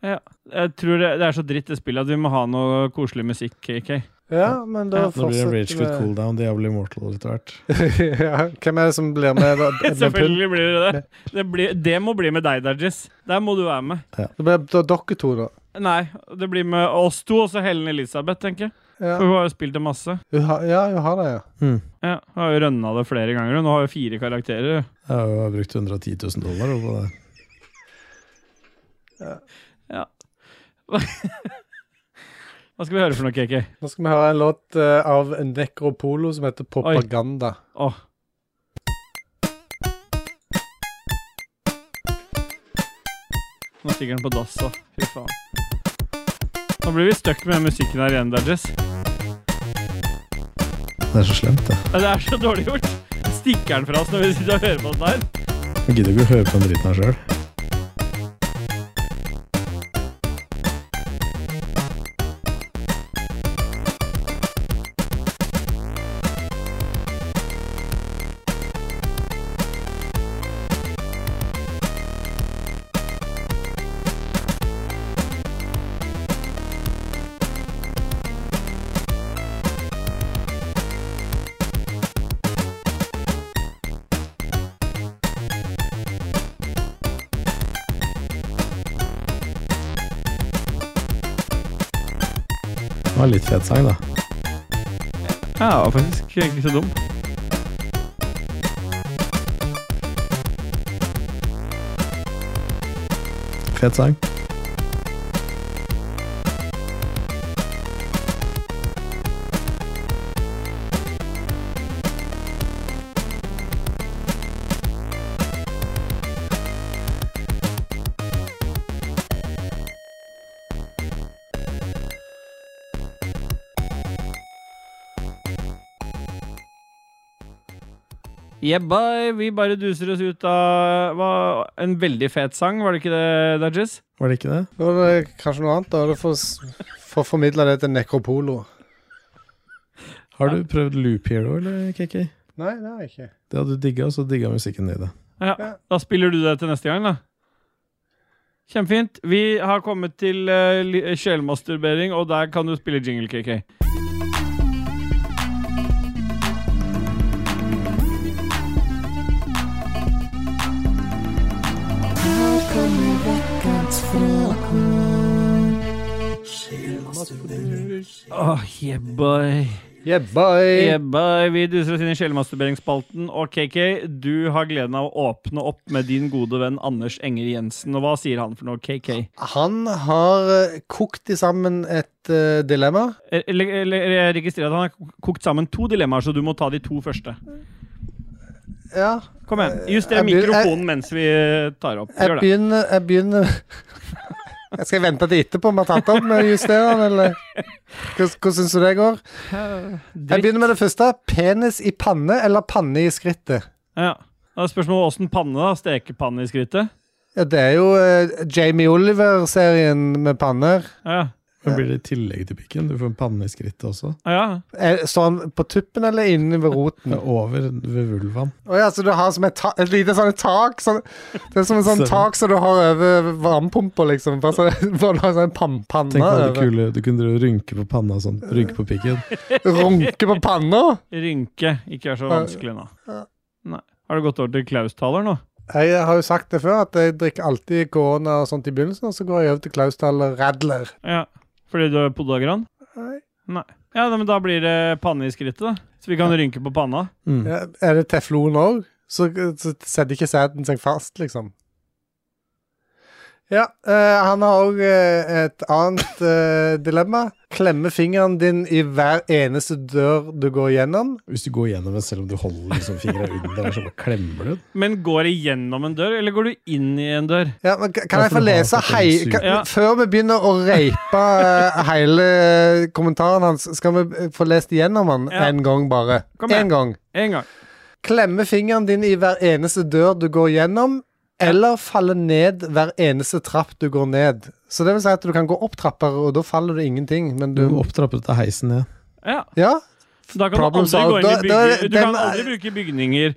Ja. Jeg tror det, det er så dritt det spillet at vi må ha noe koselig musikk, KK. Ja, men Ja, da Nå blir det fortsetter Rage Quit Cooldown, Diablo Immortal etter hvert. ja, hvem er det som blir med? Da, med pund? Selvfølgelig blir det det. Det, blir, det må bli med deg, Dajis. Der må du være med. Det blir da dere to, da. Nei, det blir med oss to og så Helen Elisabeth, tenker jeg. Ja, For hun har jo spilt det masse. hun har, ja, hun har det, ja. Ja, hun har jo rønna det flere ganger. Hun har jo fire karakterer. Jeg har jo brukt 110 000 dollar på det. Hva skal vi høre for noe, KK? Nå skal vi høre en låt eh, av Necropolo som heter 'Propaganda'. Åh. Nå stikker den på dass, da. Fy faen. Nå blir vi stuck med den musikken her igjen, Dajess. Det er så slemt, det. Ja, Det er så dårlig gjort. Stikker den fra oss når vi sitter og hører på den der. Jeg gidder ikke å høre på den driten her sjøl. Det var en litt fet sang, da. Ja, det var faktisk ikke så dum. Fet sang. Yeah, bye. Vi bare duser oss ut av hva, en veldig fet sang, var det ikke det, Dajis? Var det ikke det? Da er det kanskje noe annet. Da er det for, s- for å formidle det til Necropolo. Har du prøvd Loop Hero, eller, KK? Nei, det er ikke. Det hadde du digga, og så digga musikken i det. Ja, da spiller du det til neste gang, da. Kjempefint. Vi har kommet til eh, li- sjelmasturbering, og der kan du spille jingle, KK. Åh, yeah, boy. Yeah, bye! Ebba, Eh, vi duser oss inn i sjelmasturberingsspalten. Og KK, du har gleden av å åpne opp med din gode venn Anders Enger Jensen. Og hva sier han for noe, KK? Han har eh, kokt i sammen et eh, dilemma. Eller, eller jeg registrerer at han har kokt sammen to dilemmaer, så du må ta de to første. Ja. Kom igjen. Juster Eh, Jeg blir- mikrofonen mens vi eh, tar opp. Jeg Gjør det. begynner, jeg begynner Jeg skal vente til etterpå vi har tatt opp med justereren, eller Hvordan hvordan syns du det går? Jeg Dritt. begynner med det første. Penis i panne eller panne i skrittet? Ja. Da er spørsmålet åssen panne, da? Stekepanne i skrittet? Ja, det er jo eh, Jamie Oliver-serien med panner. Ja. Men blir det i tillegg til pikken? Du får en panne i skrittet også. ja. Er- Står han på tuppen eller inne ved roten? Det er Over ved vulvaen. Å ja, så du har som et, ta et lite sånn tak sånn, Det er som en sånn Stemmer. tak som du har over varmepumpa, liksom. Bare så, bare du har sånn pan Tenk panne på det over. kule du kunne drive og rynke på panna og sånn. Rynke på pikken. Runke på panna. Rynke. Ikke vær så vanskelig nå. Nei. Har du gått over til Klaus-taler nå? Jeg har jo sagt det før, at jeg drikker alltid korona og sånt i begynnelsen, og så går jeg over til Klausdal og Radler. Ja. Fordi du er podagran? Nei. Nei. Ja, da- men da blir det panne i skrittet, da. Så vi kan rynke på panna. Mm. Ja, er det teflon òg? Så, så setter ikke sæden seg fast, liksom. Ja, eh, han har òg et annet eh, dilemma. Klemme fingeren din i hver eneste dør du går gjennom. Hvis du går gjennom den selv om du holder liksom fingra under, så bare klemmer du den. Men går det gjennom en dør, eller går du inn i en dør? Ja, men ka- Kan Ja, jeg for få du har lese fått en hei... syk- Kan, Ja. Før vi begynner å reipe eh, hele kommentaren hans, skal vi eh, få lest igjennom han Ja. en gang bare. Kom igjen. En gang. En gang. Klemme fingeren din i hver eneste dør du går gjennom, eller falle ned hver eneste trapp du går ned. Så det vil si at du kan gå opp trapper, og da faller det ingenting, men Du du må opptrappe dette heisen ned. Ja. Ja? Da kan du Problem aldri gå inn i solved. Da- da- bygge, Du kan den er- aldri bruke bygninger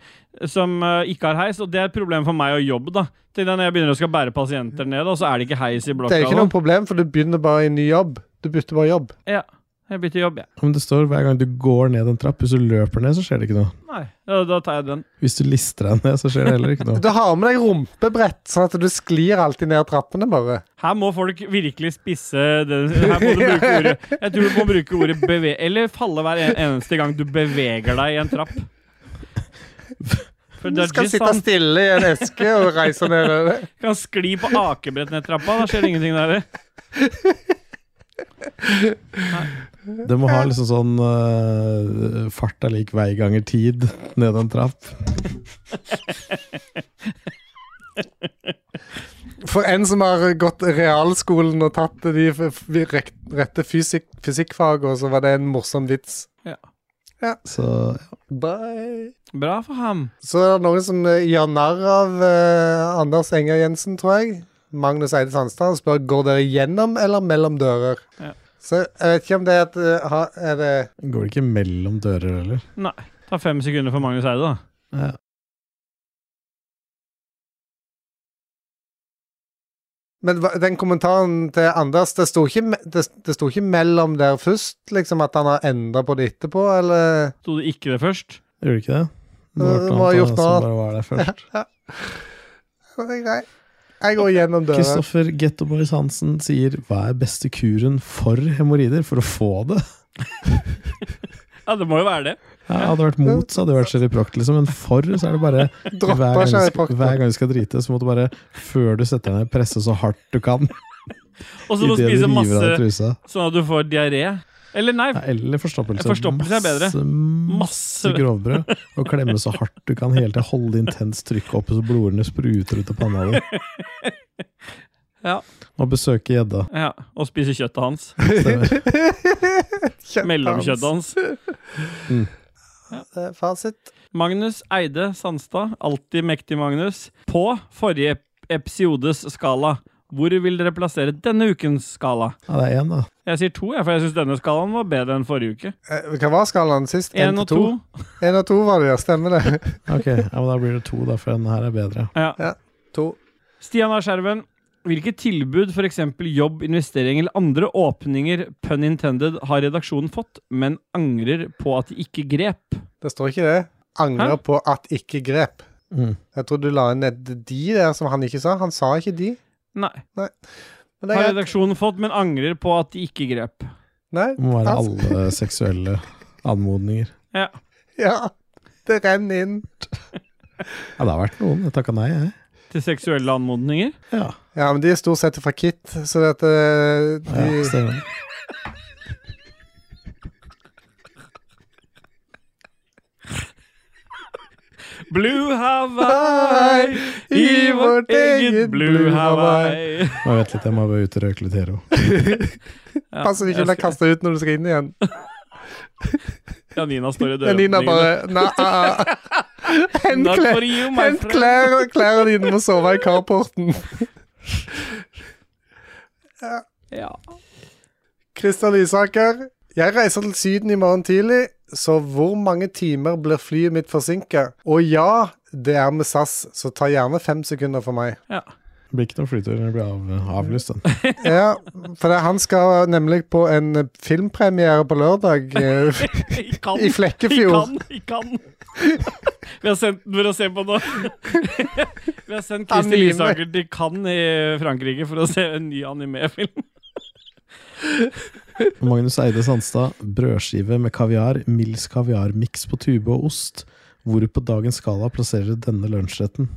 som eh, ikke har heis, og det er et problem for meg og jobb, da. Tenk deg når jeg begynner å skal bære pasienter ned, og så er det ikke heis i Det blokka. er ikke da. noe problem, for du begynner bare i ny jobb. Du bytter bare jobb. Ja. Jeg bytter jobb, jeg. Men det står hver gang du går ned en trapp, hvis du løper ned, så skjer det ikke noe. Nei, ja, da tar jeg den. Hvis du lister deg ned, så skjer det heller ikke noe. Du har med deg rumpebrett, sånn at du sklir alltid ned trappene, bare. Her må folk virkelig spisse det. Her må du bruke ordet Jeg tror du må bruke ordet beve... Eller falle hver en- eneste gang du beveger deg i en trapp. For Du skal Dudgies, sitte han stille i en eske og reise nedover. kan skli på akebrett ned trappa. Da skjer det ingenting der. Det må ha liksom sånn eh, fart er lik vei ganger tid ned en trapp. For en som har gått realskolen og tatt de f- f- rekt- rette fysikk, fysikkfagene, så var det en morsom vits. Så Bye. Bra for ham. Så er det noen som eh, gjør narr av eh, Anders Enger Jensen, tror jeg. Magnus Eide Sandstad han spør går dere gjennom eller mellom dører. Ja. Så jeg vet ikke om det er, et, eh, ha- er det går det ikke mellom dører heller. Ta fem sekunder for Magnus Eide, da. Ja. Men hva- den kommentaren til Anders, det sto ikke, me- det, det sto ikke mellom der først? Liksom at han har endra på det etterpå, eller? Sto det ikke det først? Gjorde det ikke det? Du må ha gjort noe annet. som bare var der først. Så det er greit. Jeg går gjennom døra. Kristoffer Getto Boys Hansen sier hva er beste kuren for hemoroider, for å få det? Ja, det må jo være det. Ja, hadde det vært mot, så hadde det vært Sherry Proct, liksom. Men for, så er det bare Droppa hver, gang Sherry du Proctor. skal, hver gang du skal drite, så må du bare, før du setter deg ned, presse så hardt du kan. Og så må Idet du du spise river av deg masse trusa. sånn at du får diaré. Eller nei, Nei, eller forstoppelse. Forstoppelse er bedre. Masse, Masse. masse grovbrød. Og klemme så hardt du kan hele tida. Holde intenst trykk oppe så blodårene spruter ut av panna di. Ja. Og besøke gjedda. ja, og spise kjøttet hans. Stemmer. Kjøttet Mellomkjøttet hans. hans. Det er eh, Fasit. Magnus Eide Sandstad, alltid mektig Magnus. På forrige ep- episodes skala, hvor vil dere plassere denne ukens skala? Ja, det er én, da. Jeg sier to, jeg, for jeg syns denne skalaen var bedre enn forrige uke. Eh, Hva var skalaen sist? Én og to. Én og to var det, ja. Stemmer det. Ok, ja, men Da blir det to, da, for den her er bedre. Ja. To. Stian A. Skjerven, hvilke tilbud, f.eks. jobb, investering eller andre åpninger, pun intended, har redaksjonen fått, men angrer på at de ikke grep? Det står ikke det. Angrer Hæ? på at ikke grep. Mm. Jeg tror du la inn et de der som han ikke sa. Han sa ikke de. Nei. Men Har det er greit. redaksjonen fått, men angrer på at de ikke grep? Nei. Det må være Altså. alle seksuelle anmodninger. Ja. Det renner inn. Ja, det har vært noen. Jeg takka nei, jeg. Til seksuelle anmodninger? Ja, Ja, men de er stort sett fra Kit, så det at eh, ja de stemmer. Blue Hawaii, i vårt eget Blue Hawaii. Må vent litt, jeg må bare ut og røyke litt Hero. Ja, Passer ikke å bli jeg skal- kasta ut når du skal inn igjen. Ja, Nina står i døråpningen. Nina bare Nei. ah, ah. Hent Not klær- for you, my Hent friend. klær, klærne dine må sove i carporten. Ja. Kristian Lysaker. Jeg reiser til Syden i morgen tidlig, så hvor mange timer blir flyet mitt forsinket? Og ja, det er med SAS, så ta gjerne fem sekunder for meg. Det blir ikke noen flytur, det blir av, avlyst. Den. Ja, for det, han skal nemlig på en filmpremiere på lørdag eh, I kan. i Flekkefjord. I kan. I kan. Vi har sendt den for å se på nå. Vi har sendt Kristin Anime. Lysaker til Cannes i Frankrike for å se en ny animefilm. Magnus Eide Sandstad, brødskive med kaviar, Mills kaviarmiks på tube og ost. Hvor på dagens skala plasserer du denne lunsjretten?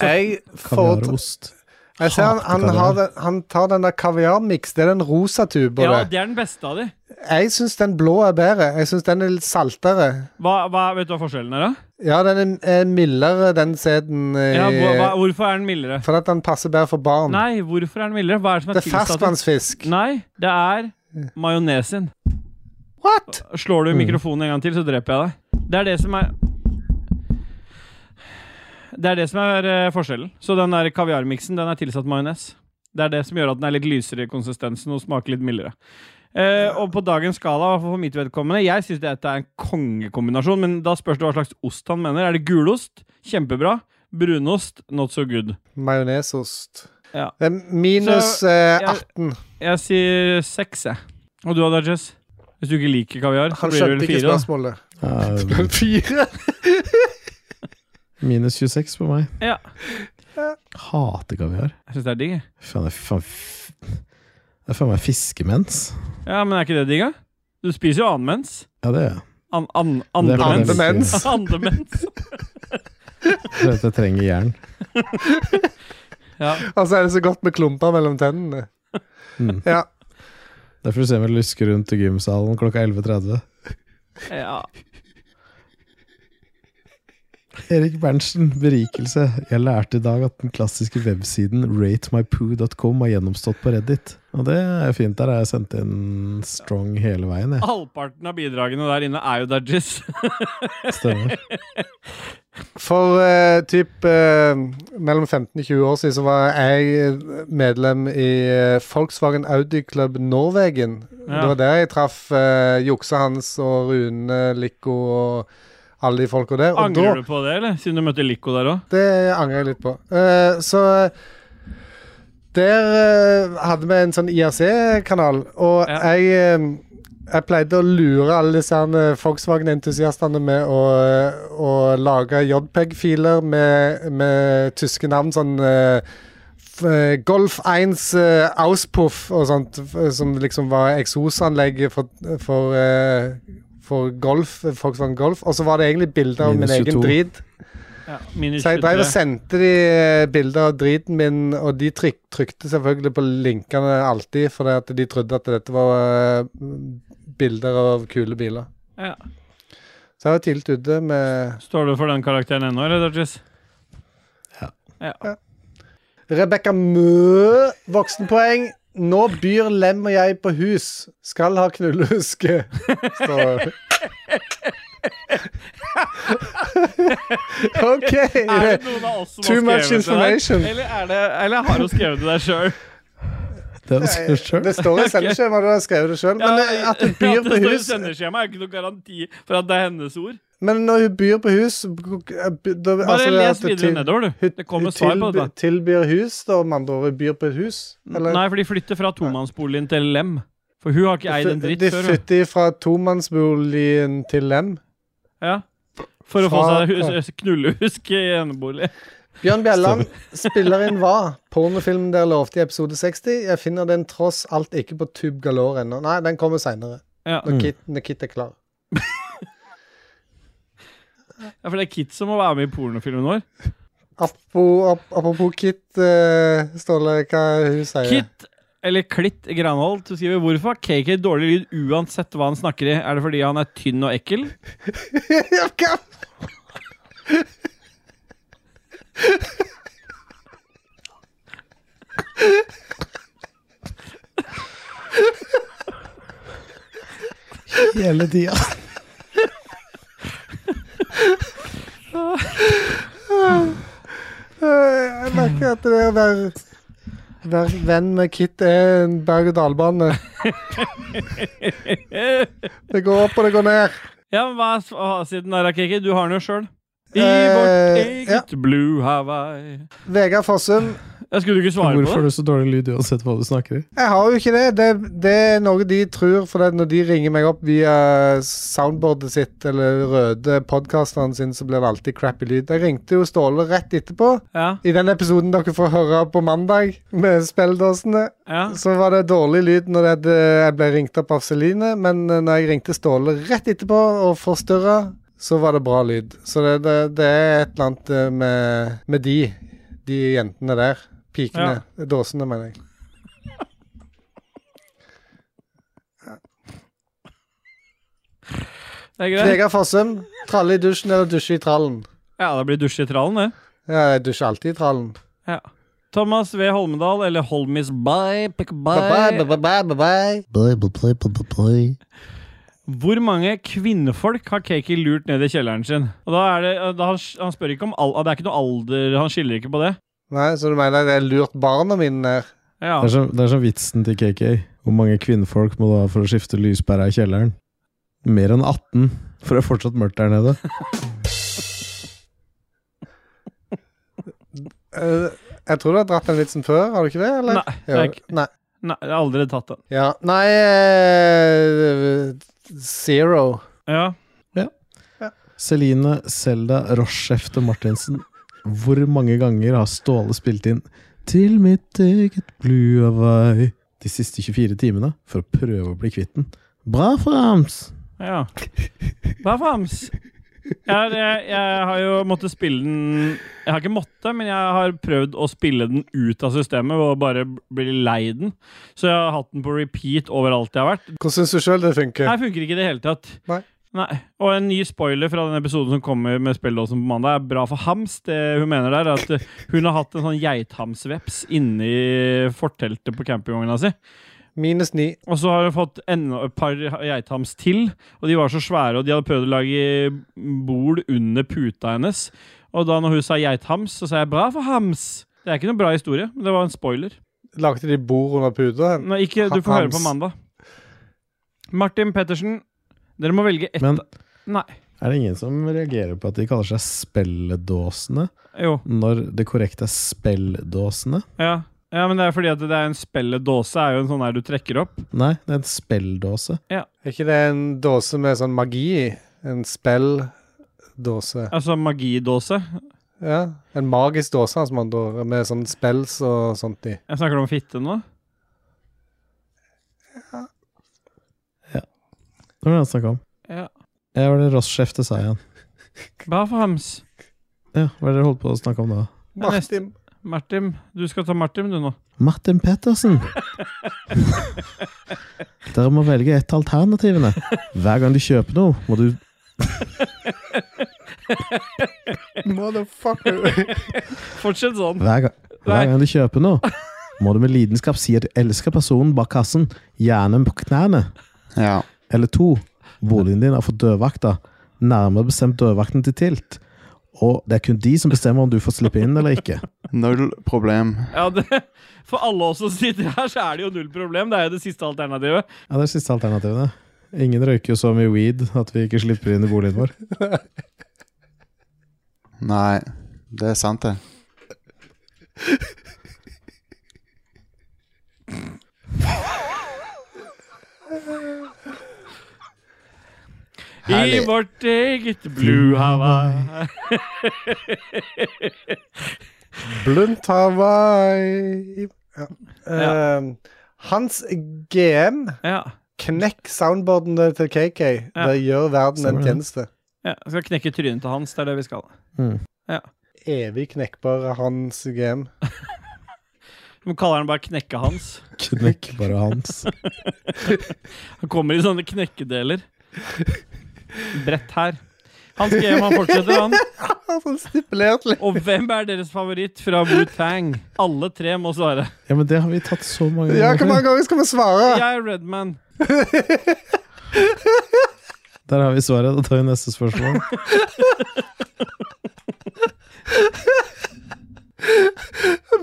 Jeg, Kaviar får, og ost. jeg ser han, han, Hater har kaviar. den, han tar den der kaviarmiks. Det er den rosa tuba. Ja, det. det er den beste av de. Jeg syns den blå er bedre. Jeg syns den er litt saltere. Hva, hva, vet du hva forskjellen er, da? Ja, den er, er mildere, den sæden. i- Ja, hva, Eh, hva, hvorfor er den mildere? For at den passer bedre for barn. Nei, hvorfor er den mildere? Hva er det som mm. er det er tilsatt? i- ferskvannsfisk. Eh. Nei, det er majonesen. What?! Slår du mikrofonen en gang til, så dreper jeg deg. Det er det som er Det er det som er eh, forskjellen. Så den der kaviarmiksen, den er tilsatt majones. Det er det som gjør at den er litt lysere i konsistensen og smaker litt mildere. Eh, og på dagens skala, i hvert fall for mitt vedkommende, jeg syns dette er en kongekombinasjon, men da spørs det hva slags ost han mener. Er det gulost? Kjempebra. Brunost? Not so good. Majonesost. Ja. Det er minus Så, eh, jeg- 18. Jeg sier seks, jeg. Og du, Adajes? Hvis du ikke liker kaviar, så Han blir det skjønte vel ikke fire. da. spørsmålet. Eh, Fire? minus 26 på meg. Ja. Hater kaviar. Jeg syns det er digg. jeg. Faen, det er faen f- Det er faen meg fiskemens. Ja, men er ikke det digg, da? Du spiser jo annenmens. Ja, det er jeg. An, an, Det er fordi andemens. jeg liker- Andemens. Andemens. fordi at Jeg trenger jern. Ja. Og så Altså, er det så godt med klumper mellom tennene. Mm. Ja. Derfor ser vi lyske rundt i gymsalen klokka 11.30. ja. Erik Berntsen, berikelse. Jeg lærte i dag at den klassiske websiden ratemypoo.com har gjennomstått på Reddit. Og det er fint. Der har jeg sendt inn strong hele veien, jeg. Halvparten av bidragene der inne er jo dodges. Stemmer. For eh, typ eh, mellom 15 og 20 år siden så var jeg medlem i eh, Volkswagen Audi Club Norwegen. Ja. Det var der jeg traff eh, Jukse Hans og Rune Lico og alle de folka der. Og da, Angrer du på det, eller? Siden du møtte Lico der òg? Det angrer jeg litt på. Eh, så eh, der eh, hadde vi en sånn IRC-kanal, og Ja. jeg eh, jeg pleide å lure alle disse her, eh, Volkswagen-entusiastene med å, eh, å lage JPEG-filer med, med tyske navn, sånn eh, f- eh, Golf 1 eh, Auspuff og sånt, f- som liksom var eksosanlegget for, for, eh, for golf, Volkswagen Golf. Og så var det egentlig bilder av Minus min egen 22. drit. Ja. Minus Så jeg drev og 23. sendte de eh, bilder av driten min, og de tryk, trykte selvfølgelig på linkene alltid, fordi at de trodde at dette var eh, bilder av kule biler. Ja. Så jeg var tidlig ute med Står du for den karakteren ennå, eller, dodges? Ja. ja. Rebekka Mø, voksenpoeng. Nå byr Lem og jeg på hus. Skal ha knullehuske. Står det. OK. Er det noen av oss som Too har much skrevet det der? information. Eller, er det, eller har du skrevet det der sjøl? Det var så skjørt. Det står i sendeskjemaet, du har skrevet det sjøl. Men eh, at du byr på hus Sendeskjema er jo ikke noen garanti for at det er hennes ord. Men når hun byr på hus eh, da, Altså, Bare les videre nedover, du. Det kommer svar på dette. Tilbyr hus, da, med andre ord. Byr på et hus? Eller? Nei, for de flytter fra tomannsboligen til Lem. For hun har ikke eid en dritt de før. hun. flytter fra tomannsboligen til lem. Ja. For å få Fra- seg hus, knullehusk i enebolig. Bjørn Bjelland spiller inn hva? Pornofilmen dere lovte i episode 60? Jeg finner den tross alt ikke på Tube Galore ennå. Nei, den kommer seinere. Ja. Når, Kit, når Kit er klar. ja, for det er Kit som må være med i pornofilmen vår. Apropos, ap, apropos Kit, eh, Ståle, hva er det hun sier Kit, eller Klitt Granholt, du skriver hvorfor har KK dårlig lyd uansett hva han snakker i? Er det fordi han er tynn og ekkel? Ja, hva? Hele tida. Eh, Jeg merker at det å være, være venn med Kit er en berg-og-dal-bane. Eh, Det går opp og det går ned. Ja, men hva er fasiten der, KK? Du har den jo sjøl. I Eh, vårt ja. eget blue Hawaii. Vegard Fossum, Jeg skulle du ikke svare Hvorfor på har det? du så dårlig lyd uansett hva du snakker i? Jeg har jo ikke det. Det, det er noe de tror, for det, når de ringer meg opp via soundboardet sitt eller røde podkasteren sin, så blir det alltid crappy lyd. Jeg ringte jo Ståle rett etterpå. Ja, I den episoden dere får høre på mandag, med spilledåsene, ja. så var det dårlig lyd når jeg- jeg ble ringt opp av Celine, men eh, når jeg ringte Ståle rett etterpå og forstyrra, så var det bra lyd. Så det, det, det er et eller annet eh, med, med de, de jentene der. Pikene. Dåsene, mener jeg. Det er greit. Vegard Fossum, tralle i dusjen eller dusje i trallen? Ja, det blir dusj i trallen, det. Ja, jeg dusjer alltid i trallen. Ja. Thomas V. Holmedal eller Holmis Bye, pick a bye. Bye-bye, bye-bye, bye-bye. Hvor mange kvinnefolk har Kaki lurt ned i kjelleren sin? Og da er det, da han, han spør ikke om al Det er ikke noe alder, han skiller ikke på det. Nei, så du mener jeg har lurt barna mine ned? Ja, Det er, sånn, som, det er som vitsen til KK. Hvor mange kvinnfolk må du ha for å skifte lyspæra i kjelleren? Mer enn 18, for det er fortsatt mørkt der nede. Eh, jeg tror du har dratt den vitsen før, har du ikke det? Eller? Nei, det har jeg Jo, nei. Nei, jeg har aldri tatt den. Ja. Nei eh, Zero. Ja. Celine Selda Rochefte Martinsen. Hvor mange ganger har Ståle spilt inn 'Til mitt eget blue away' de siste 24 timene for å prøve å bli kvitt den? Bra, Frams! ja. Hva fams? Jeg, har- jeg, jeg har jo måttet spille den Jeg har ikke måttet, men jeg har prøvd å spille den ut av systemet og bare bli lei den. Så jeg har hatt den på repeat overalt jeg har vært. Hvordan syns du sjøl det funker? Her funker ikke i det hele tatt. Nei. Nei. Og en ny spoiler fra den episoden som kommer med spilledåsen på mandag, er bra for hams. Det hun mener der, er at eh, hun har hatt en sånn geithamsveps inni forteltet på campingvogna si. Minus ni. Og så har hun fått enda et par geithams til, og de var så svære, og de hadde prøvd å lage bol under puta hennes. Og da når hun sa geithams, så sa jeg 'bra for hams'. Det er ikke noen bra historie, men det var en spoiler. Lagde de bord under puta? Nei, ikke, du får høre på Hams. mandag. Martin Pettersen, dere må velge ett Men Nei. er det ingen som reagerer på at de kaller seg spelledåsene, Jo. når det korrekte er spelldåsene? Ja. ja, men det er fordi at det er en spelledåse. er jo en sånn der du trekker opp. Nei, det er en spelldåse. Er ikke det en dåse med sånn magi i? En spelldåse? Altså magidåse. Ja. En magisk dåse, altså, man da, med sånn spells og sånt i. Jeg snakker om fitte nå. Det var det han snakka om. Ja. Ja, hva var det Rochefte sa igjen? Bra for hams. Ja, hva er det dere holdt på å snakke om da? Ja, neste. Martin. Martin. Du skal ta Martin, du nå. Martin Pettersen. Dere må velge et av alternativene. Hver gang du kjøper noe, må du Motherfucker. Fortsett sånn. Hver, ga- Nei. hver gang du kjøper noe, må du med lidenskap si at du elsker personen bak kassen, gjerne på knærne. Ja. Eller to, boligen din er for dørvakta, nærmere bestemt dørvakten til Tilt. Og det er kun de som bestemmer om du får slippe inn eller ikke. Null problem. Ja, det, for alle oss som sitter her, så er det jo null problem. Det er jo det siste alternativet. Ja, det er siste alternativene. Ingen røyker jo så mye weed at vi ikke slipper inn i boligen vår. Nei, det er sant, det. I Herlig. vårt eget Blue Hawaii. Blunt Hawaii. Ja. Ja. Eh, Hans GM Ja. Knekk soundboardene til KK. Ja. Det gjør verden en Stemmer det. tjeneste. ja. Jeg skal knekke trynet til Hans. Det er det vi skal. Evig knekkbar hans game. Vi kaller han bare Knekke-Hans. Knekk bare hans. Han kommer i sånne knekkedeler. Brett her. Hans GM han fortsetter, han. Sånn stipulert litt. Og hvem er deres favoritt fra Wu-Tang? Alle tre må svare. Ja, men det har vi tatt så mange Ja, hvor ganger. mange ganger skal vi svare? Jeg er Redman. Der har vi svaret. Da tar vi neste spørsmål.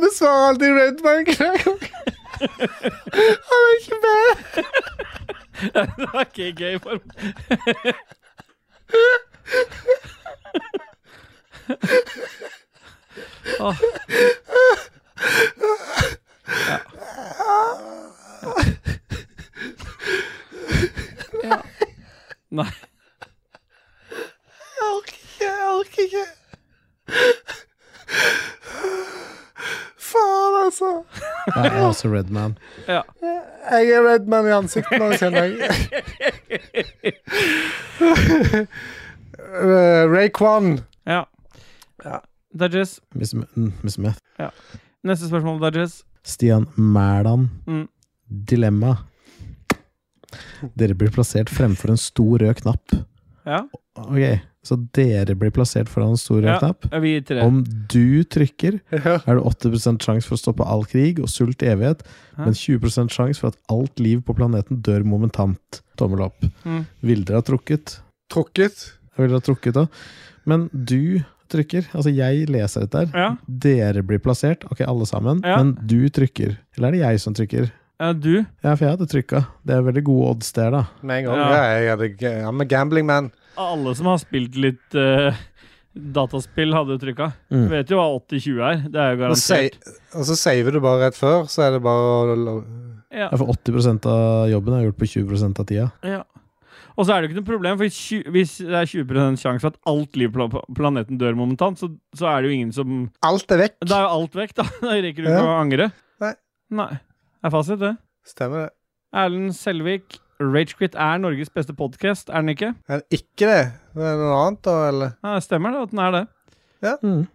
Vi svarer alltid Redman hver gang. Han er ikke med. Det var ikke gøy for Åh. Nei. Jeg orker ikke, jeg orker ikke. Faen, altså. Jeg er også Red Man. Ja. Jeg er redd man i ansiktet nå, kjenner jeg. Eh, Ray Kwan. ja. Dodges. Miss, M- mm, Miss Meth. Neste spørsmål, Dodges. Stian Mæland. Mm. Dilemma. Dere blir plassert fremfor en stor rød knapp. Ja. Ok, så dere blir plassert foran en stor rød Ja. knapp. Vi tre. Om du trykker, Ja. er det 80 sjanse for å stoppe all krig og sult i evighet, Hæ? men 20 sjanse for at alt liv på planeten dør momentant. Tommel opp. Mm. Ville dere ha trukket? Trukket. Jeg ville ha trukket da. Men du trykker. Altså, jeg leser dette her. Ja. Dere blir plassert, ok, alle sammen, Ja. men du trykker. Eller er det jeg som trykker? Ja, du. Ja, for jeg hadde trykka. Det er veldig gode odds der, da. Med en gang. gang. Ja. jeg hadde, ga- I'm a gambling man. Alle som har spilt litt eh, dataspill, hadde trykka. Mm. Vet jo hva 80-20 er. Det er jo Og, sa- garantert. og så saver du bare rett før, så er det bare å lo- Ja. Ja, For 80 av jobben er gjort på 20 av tida. Ja. Og så er det jo ikke noe problem, for tju- hvis det er 20 sjanse for at alt liv på pla- planeten dør momentant, så, så er det jo ingen som Alt er vekk. Da er jo alt vekk, da. Da rekker du Ja. ikke å angre. Nei. Nei. Det er fasit, det. Stemmer det. Erlend Selvik, Ragequit er Norges beste podkast, er den ikke? Er det ikke det? Det er noe annet, da, eller? Ja, det stemmer det at den er det. Mm.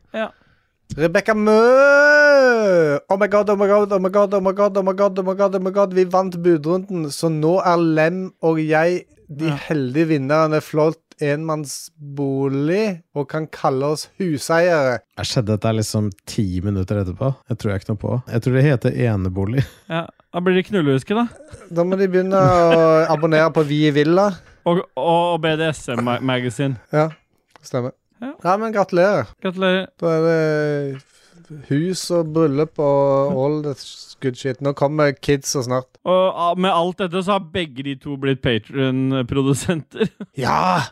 Rebekka Mø! Oh my god, oh my god, oh my god, oh my god, oh my god, oh my god, oh my god. Vi vant budrunden, så nå er Lem og jeg de Ja. heldige vinnerne. Flott enmannsbolig, og kan kalle oss huseiere. Jeg skjedde dette liksom ti minutter etterpå. Jeg tror jeg ikke noe på. Jeg tror det heter enebolig. Ja. Da blir det knullehuske, da. Da må de begynne å abonnere på Vi i Villa. Og, og BDSM ma- Magazine. Ja, stemmer. Ja. Nei, men gratulerer. Gratulerer. Da er det hus og bryllup og all this good shit. Nå kommer kidsa snart. Og ah, med alt dette så har begge de to blitt Patron-produsenter. Ja!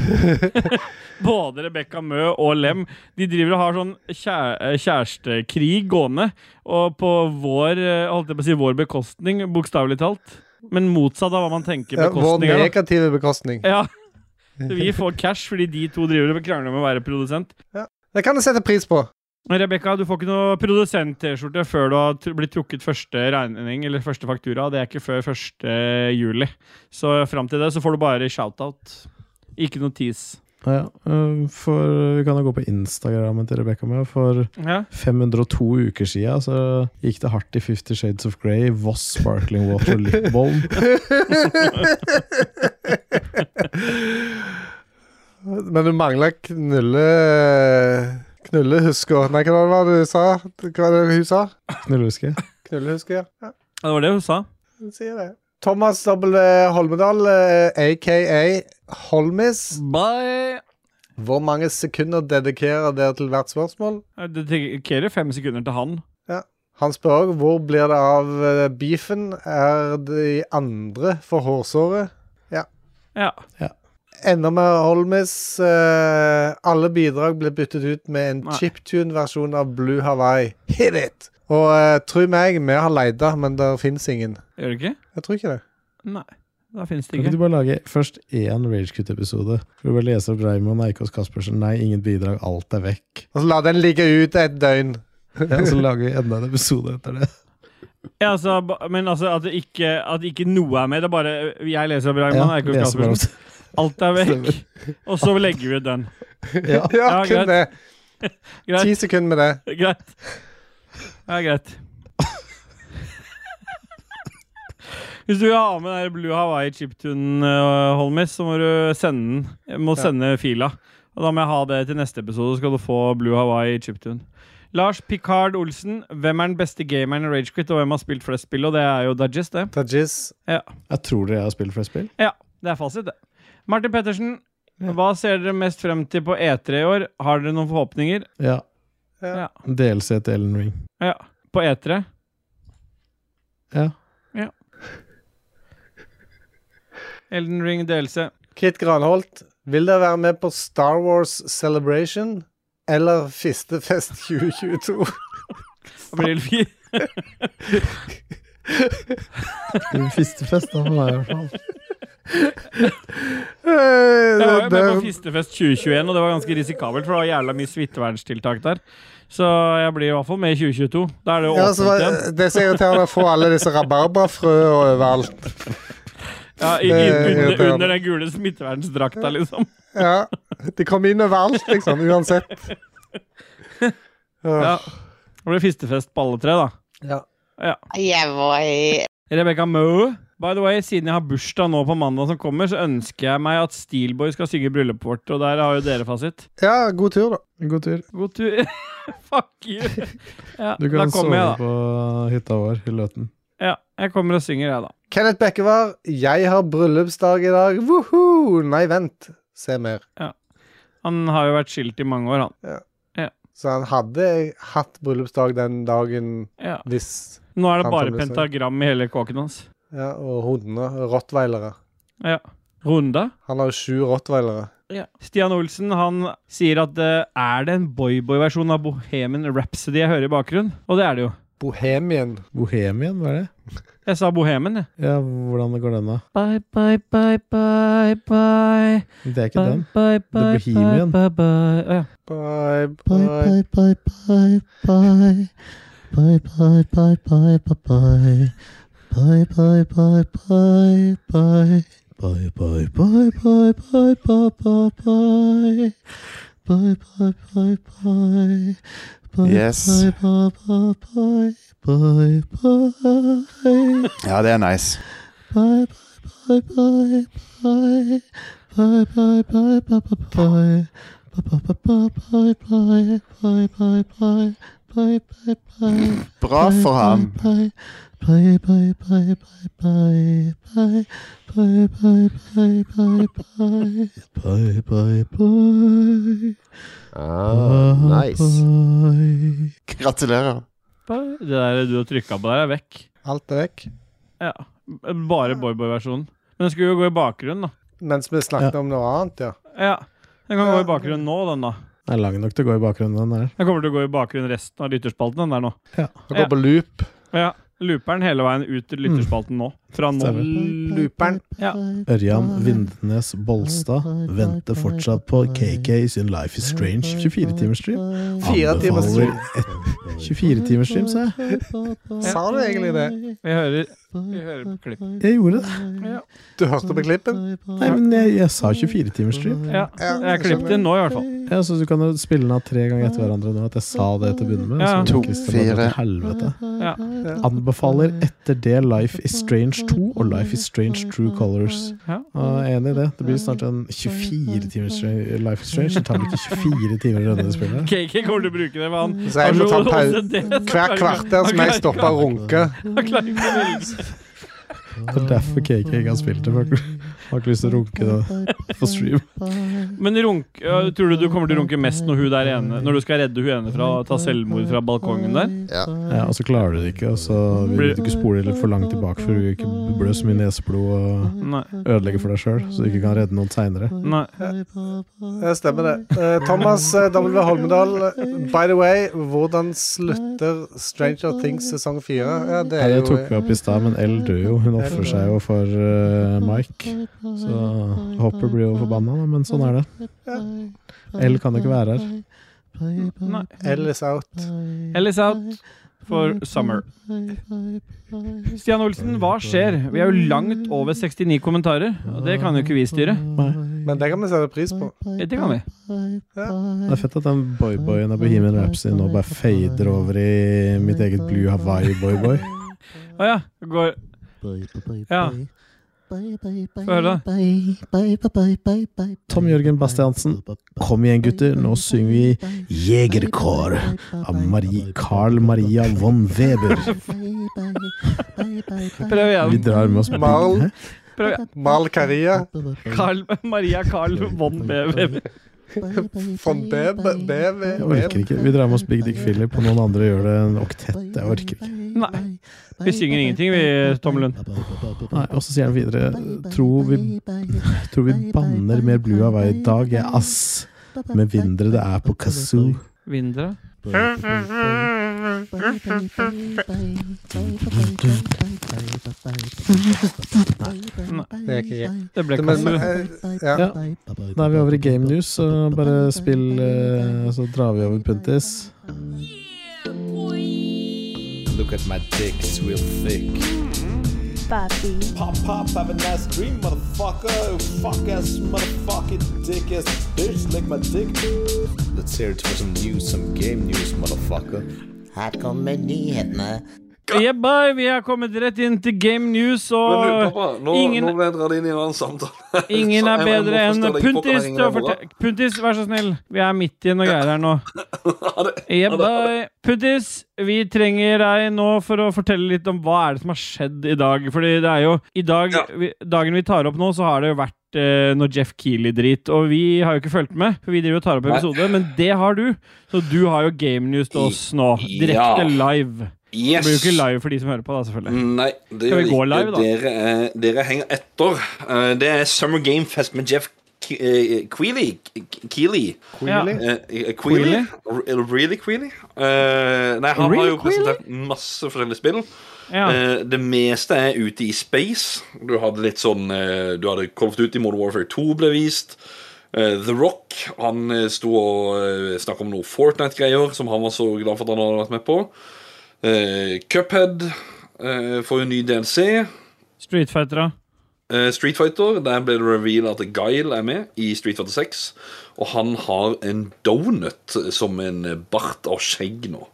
Både Rebekka Mø og Lem De driver og har sånn kjæ- eh, kjærestekrig gående. Og på vår, eh, holdt jeg på å si, vår bekostning, bokstavelig talt. Men motsatt av hva man tenker ja vår bekostning er. da. negative bekostning. Ja. Så vi får cash fordi de to driver og krangler om å være produsent. Det kan du sette pris på. Men Rebekka, du får ikke noe produsent-T-skjorte før du har tr- blitt trukket første regning eller første faktura. Det er ikke før 1. juli. Så fram til det så får du bare shout-out. Ikke noe tease. Ja, øh, for vi kan jo gå på Instagrammen til Rebekka med. For Ja. 502 uker siden så gikk det hardt i Fifty Shades of Grey, Voss Sparkling Water Lip Balm. Men du mangler knulle... Knullehusker. Nei, hva var det du sa? Hva var det hun sa? Knullehuske. Knullehusker, ja. Det var det hun sa. ja hun sier det. Thomas W. Holmedal, eh, aka Holmis. Bye! Hvor mange sekunder dedikerer dere til hvert spørsmål? Det dedikerer fem sekunder til han. Han spør òg hvor blir det av eh, beefen? Er de andre for hårsåret? Ja. Enda mer Holmis. eh, alle bidrag ble byttet ut med en Nei. chiptune-versjon av Blue Hawaii. Hit it! Og eh, tro meg, vi har leita, men der fins ingen. Gjør det ikke? Jeg tror ikke det. Nei. Da finnes det Kan ikke ikke. du bare lage først én Ragecut-episode? Skal du bare lese opp Raymond Eikås Caspersen? Nei, ingen bidrag, alt er vekk. Og så la den ligge ute et døgn. Ja, så lager vi enda en episode etter det. Ja, altså, ba- men altså, at, det ikke, at ikke noe er med. Det er bare Jeg leser av Raymond Ja, Eikås leser bare Caspersen. Alt er vekk. Og så legger vi ut den. Ja. Ja, Ja, kun det. Ti Greit. sekunder med det. greit. Ja, greit. Hvis du vil ha med den der Blue Hawaii chiptune, eh, Holmis, så må du sende den. Jeg må sende fila. Og da må jeg ha det til neste episode, så skal du få Blue Hawaii chiptune. Lars Picard Olsen, hvem er den beste gameren i Ragequit, og hvem har spilt flest spill? Og det er jo Dudges, det. Tajis. Jeg tror dere jeg har spilt flest spill. Ja, det er fasit, det. Martin Pettersen, hva ser dere mest frem til på E3 i år? Har dere noen forhåpninger? Ja. Ja. Ja. DLC til Ellen Ring. Ja. På E E3? Ja. Elden Ring DLC. Kit Granholt, vil dere være med på Star Wars Celebration eller Fistefest 2022? April 4. Fistefest, da, for meg i hvert fall. Jeg var jo det, med på Fistefest 2021, og det var ganske risikabelt, for det var jævla mye smitteverntiltak der. Så jeg blir i hvert fall med i 2022. Da er det jo ja, åpent så var, igjen. det som er irriterende, er å få alle disse rabarbrafrøene overalt. Ja, i, det er under, irriterende. under den gule smittevernsdrakta, liksom. Ja, De kommer inn overalt, liksom. Uansett. Ja. Ja. Da blir det fistefest på alle tre, da. Ja. Yeah, boy. Rebekka Moe. By the way, siden jeg har bursdag nå på mandag som kommer, så ønsker jeg meg at Steelboy skal synge bryllupet vårt, og der har jo dere fasit. ja, god tur, da. God tur. God tur. Fuck you. Ja, Du da kan sove kommer jeg, da. på hytta vår i Løten. Ja, jeg kommer og synger, jeg, da. Kenneth Bekkevar, jeg har bryllupsdag i dag. Woho! Nei, vent. Se mer. Han har jo vært skilt i mange år, han. Så han hadde hatt bryllupsdag den dagen Ja. hvis Nå er det Han bare kommer og synger. pentagram i hele kåken hans. Ja, og hundene. Rottweilere. Ja. Runda. Han har jo sju rottweilere. Stian Olsen han sier at eh, er det en boyboy-versjon av Bohemian Rhapsody jeg hører i bakgrunnen? Og det er det jo. Bohemien. Bohemien, hva er det? Jeg sa Bohemen, jeg. Ja, hvordan går den, da? Bye, bye, bye, bye, bye. Det er ikke den. Bye, bye, The Bohemian. Bye, bye, bye. Å, ja. Bye, Bye bye. bye bye bye bye bye bye bye bye bye bye bye bye bye bye bye bye bye bye bye bye bye bye bye bye bye bye bye bye Yes. bye bye bye bye bye bye Ja, det er nice. Bye bye bye bye bye bye bye bye bye bye bye bye bye bye bye bye bye bye bye bye Bra for ham. Bye bye bye bye bye bye bye bye bye bye bye bye bye bye Ah, nice. bye Gratulerer. Bye. Det der du har trykka på der, er vekk. Alt er vekk. Ja. Bare boyboy-versjonen. Men den skulle jo gå i bakgrunnen, da. Mens vi snakket om noe annet, ja. Ja. Den kan gå Ja. i bakgrunnen nå, den, da. Den er lang nok til å gå i bakgrunnen, den der. Den kommer til å gå i bakgrunnen resten av lytterspalten, den der nå. Det Ja. går på loop. Ja. Looper den hele veien ut til lytterspalten nå. Fra nå. Stemmer. Looperen. Ja. Ørjan Vindnes Bolstad venter fortsatt på KK sin Life is Strange 24-timersstream. Fire timers stream. 24-timersstream, sa jeg. Sa du egentlig det? Vi hører, vi hører på klipp. Jeg gjorde det. Ja. Du hørte på klippen? Nei, men jeg, jeg sa 24-timersstream. ja. Ja, Jeg klippet inn nå, i hvert fall. Ja, så du kan jo spille den av tre ganger etter hverandre nå, at jeg sa det til å begynne med. Ja. så To, Christian bare drar til fire. Helvete. Ja. Anbefaler etter det Life is Strange 2 og Life is Strange True Colors. Ja. Ja, jeg er enig i det. Det blir snart en 24 timers stra- Life is Strange. Det tar vel ikke 24 timer å runde det spillet? KK kommer til å bruke det, sånn men han Så jeg må ta en pause. Hver Hver kvarter som jeg stopper å runke. Han klarer ikke å velge. Det er derfor KK ikke har spilt det. for han Har ikke lyst til å runke det på stream. Men runk, ja, tror du du kommer til å runke mest når, hun der ene, når du skal redde hun ene fra å ta selvmord fra balkongen der? Ja, og så klarer du det ikke, og så vil du ikke spole litt for langt tilbake for du ikke blør så mye neseblod og Nei. ødelegger for deg sjøl, så du ikke kan redde noen seinere. Nei. Det stemmer, det. Eh, Thomas eh, W. Holmedal, eh, by the way, hvordan slutter Stranger Things sesong fire? Ja, det Ja, er det jo tok vi opp i stad, men Elle dør jo. Hun ofrer seg jo for eh, Mike. Så Hopper blir jo forbanna, da, men sånn er det. Elle kan ikke være her. Nei. Ellis out. Ellis out for summer. Stian Olsen, hva skjer? Vi er jo langt over 69 kommentarer, og det kan jo ikke vi styre. Men det kan vi sette pris på. Det kan vi. Det er fett at den boyboyen av Bohemian Rhapsody nå bare fader over i mitt eget Blue Hawaii-boyboy. Å ja. Går Ja. Få høre, da. Tom Jørgen Bastiansen. Kom igjen, gutter, nå synger vi Jegerkår av Marie, Carl Maria von Weber. Prøv Vi igjen. drar med oss Mal, Prøv igjen. Mal Karia. Carl, Maria Carl von Bever. Von BB... BV... Jeg orker ikke. Vi drar med oss Big Dick Philip, og noen andre gjør det en oktett. Jeg orker ikke. Nei. Vi synger ingenting, vi, Tom Lund. Nei, og så sier han videre Eh, Tror vi, tror vi banner mer Blue Hawaii i dag, ja ass. Med mindre det er på Kazoo. Vindra? bye, bye, bye. Bye, bye, bye, bye. Bye, bye, bye, bye, bye, bye, bye, bye, Det er ikke greit. Det ble Det- men- kasse. men, eh, ja. Ja. Da er vi over i game news, så bare spill, eh, så drar vi over Puntis. Look at my dick, it's real thick. Pop pop, have a nice dream, motherfucker. Fuck ass, motherfucking dick ass bitch, lick my dick. Let's hear it for some news, some game news, motherfucker. Her kommer nyhetene. Yeah, bye. Vi er kommet rett inn til Game News, Men du, og pappa, nå, ingen- nå ble jeg dratt inn i en annen samtale. ingen Så jeg- er jeg må bedre enn forstå deg på Puntis. hvordan til å jeg holder. fortelle- Puntis, vær så snill. Vi er midt i noe greier her nå. Ha det. Yeah, bye. Puntis, vi trenger deg nå for å fortelle litt om hva er det som har skjedd i dag. Fordi det er jo i dag, Ja. vi, Dagen vi tar opp nå, så har det jo vært eh, noe Jeff Keeley-drit. Og vi har jo ikke fulgt med, for vi driver og tar opp episode, men det har du. Så du har jo Game News til oss nå. Ja. Mm, Direkte live. Det blir jo ikke live for de som hører på, da, selvfølgelig. Nei, det Skal vi gå gjør ikke. live, da? Dere, eh, dere henger etter. Eh, det er Summer Game Fest med Jeff Ke- eh, Queeley. Ke- Keeley. Ja. Eh, eh, Queeley? Re- Really Queeley? Eh, nei, han har Really jo presentert masse forskjellige spill. Ja. Eh, det meste er ute i space. Du hadde litt sånn eh, Du hadde Call of Duty Modern Warfare 2 ble vist. Eh, The Rock Han eh, sto og eh, snakka om noe Fortnite-greier som han var så glad for at han hadde vært med på. Eh, Cuphead eh, får en ny DLC. Street Fighter, da. Eh, Street Fighter, der ble det reveal at Guile er med i Street Fighter 6. Og han har en donut som en bart av skjegg nå.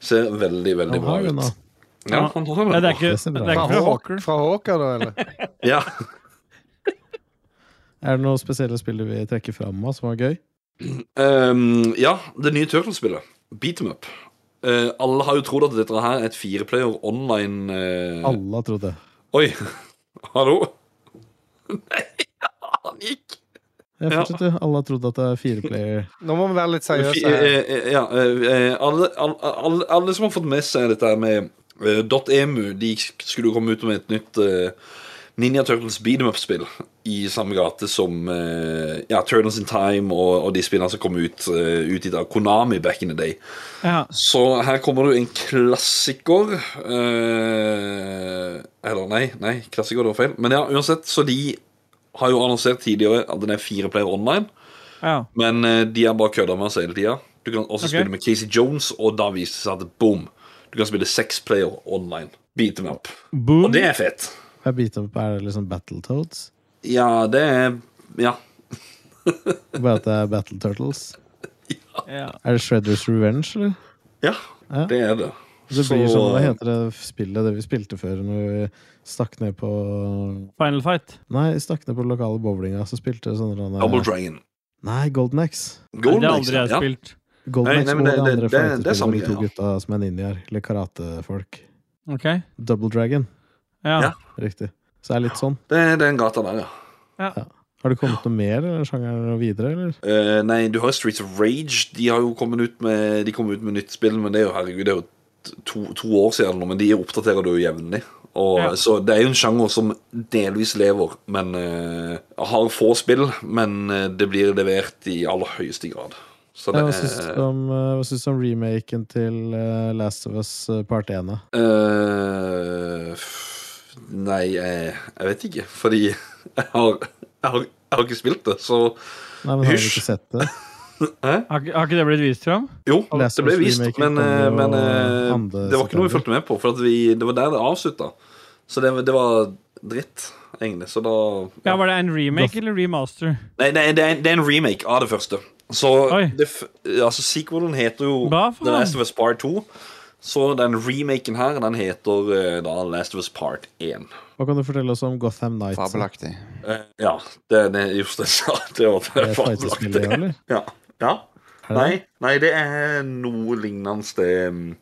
Ser veldig, veldig Han bra har jo ut. nå. Ja, han har Nei, det. det er ikke, det ser bra det er ut. ikke fra Hawker. Fra Hawker, da, eller? Ja. Er det noen spesielle spill du vil trekke fram av som var gøy? Ehm, ja, det nye Turtles-spillet. Beat 'em up. Eh, alle har jo trodd at dette her er et fireplayer online eh, Alle har trodd det. Oi! Hallo? Nei, han gikk! Ja, Ja. fortsett, du. Alle har trodd at det er fireplayer. Nå må vi være litt Fi- seriøse. her. eh, eh, ja, eh, eh, alle, alle, alle, alle som har fått med seg dette her med eh, .emu, de skulle jo komme ut med et nytt eh, Ninja Turtles beat 'em up-spill i samme gate som eh, ja, Turtles in Time og, og de spillene som kom ut uh, utgitt av Konami back in the day. Ja. Så her kommer det jo en klassiker eh, Eller nei, nei, klassiker det var feil. Men ja, uansett, så de har jo annonsert tidligere at den er fire player online. Ja. Men eh, de har bare kødda med oss hele tida. Du kan også Ok. spille med Casey Jones, og da viser det seg at boom, du kan spille seks player online. Beat them up. Og Boom. det er fett. Er beat up er det liksom Battletoads? Ja, det er Ja. Bare at det er Battle Turtles? Ja. Er det Shredders Revenge, eller? Ja, Ja. det er det. Det blir Så- sånn, Hva heter det spillet det vi spilte før, når vi stakk ned på Final fight. Nei, stakk ned på den lokale bowlinga, så spilte vi sånn eh, Double Dragon. Nei, Golden Axe. Golden det har Axe, aldri jeg ja. spilt. Golden Nei, Axe nei, og men det- det det- andre det- det er samme fightespillet, de to greia. gutta som er ninjaer, eller karatefolk. Ok. Double Dragon, Ja. Ja. riktig. Så det er litt sånn. Det er den gata der, ja. Har det kommet noe mer eller sjangeren og videre, eller? Eh, nei, du har jo Streets of Rage. De har jo kommet ut med De kom ut med nytt spill, men det er jo herregud, det er jo t- to, to år siden nå, men de oppdaterer det jo jevnlig. Og, Ja. Så det er jo en sjanger som delvis lever, men eh, har få spill. Men eh, det blir levert i aller høyeste grad. Så det Ja, hva syns du er om, eh, hva syns du om remaken til eh, Last of Us eh, part 1? da? eh, f- Nei, jeg, jeg vet ikke. Fordi jeg har, jeg har, jeg har ikke spilt det, så Nei, men har du Hysj! ikke sett det? Har, ikke- har ikke det blitt vist fram? Jo, Last det ble of Us vist, remaken men, kommer eh, jo men eh, andre det var ikke noe vi september. fulgte med på, for at vi, det var der det avslutta. Så det, det var dritt, egentlig. Så da Ja, Var det en remake eller remaster? Nei, nei det, er en, det er en remake av det første. Så Oi. det, f- altså, sequelen heter jo Hva for The noe? Last of Us Part 2. Så den remaken her, den heter eh, da Last of Us Part 1. Hva kan du fortelle oss om Gotham Nights? Fabelaktig. Eh, ja, det er det just det jeg sa. Det var Er det det var fightespillet, lagt det. eller? Ja. ja. Er det Nei, nei, det er noe lignende det mm,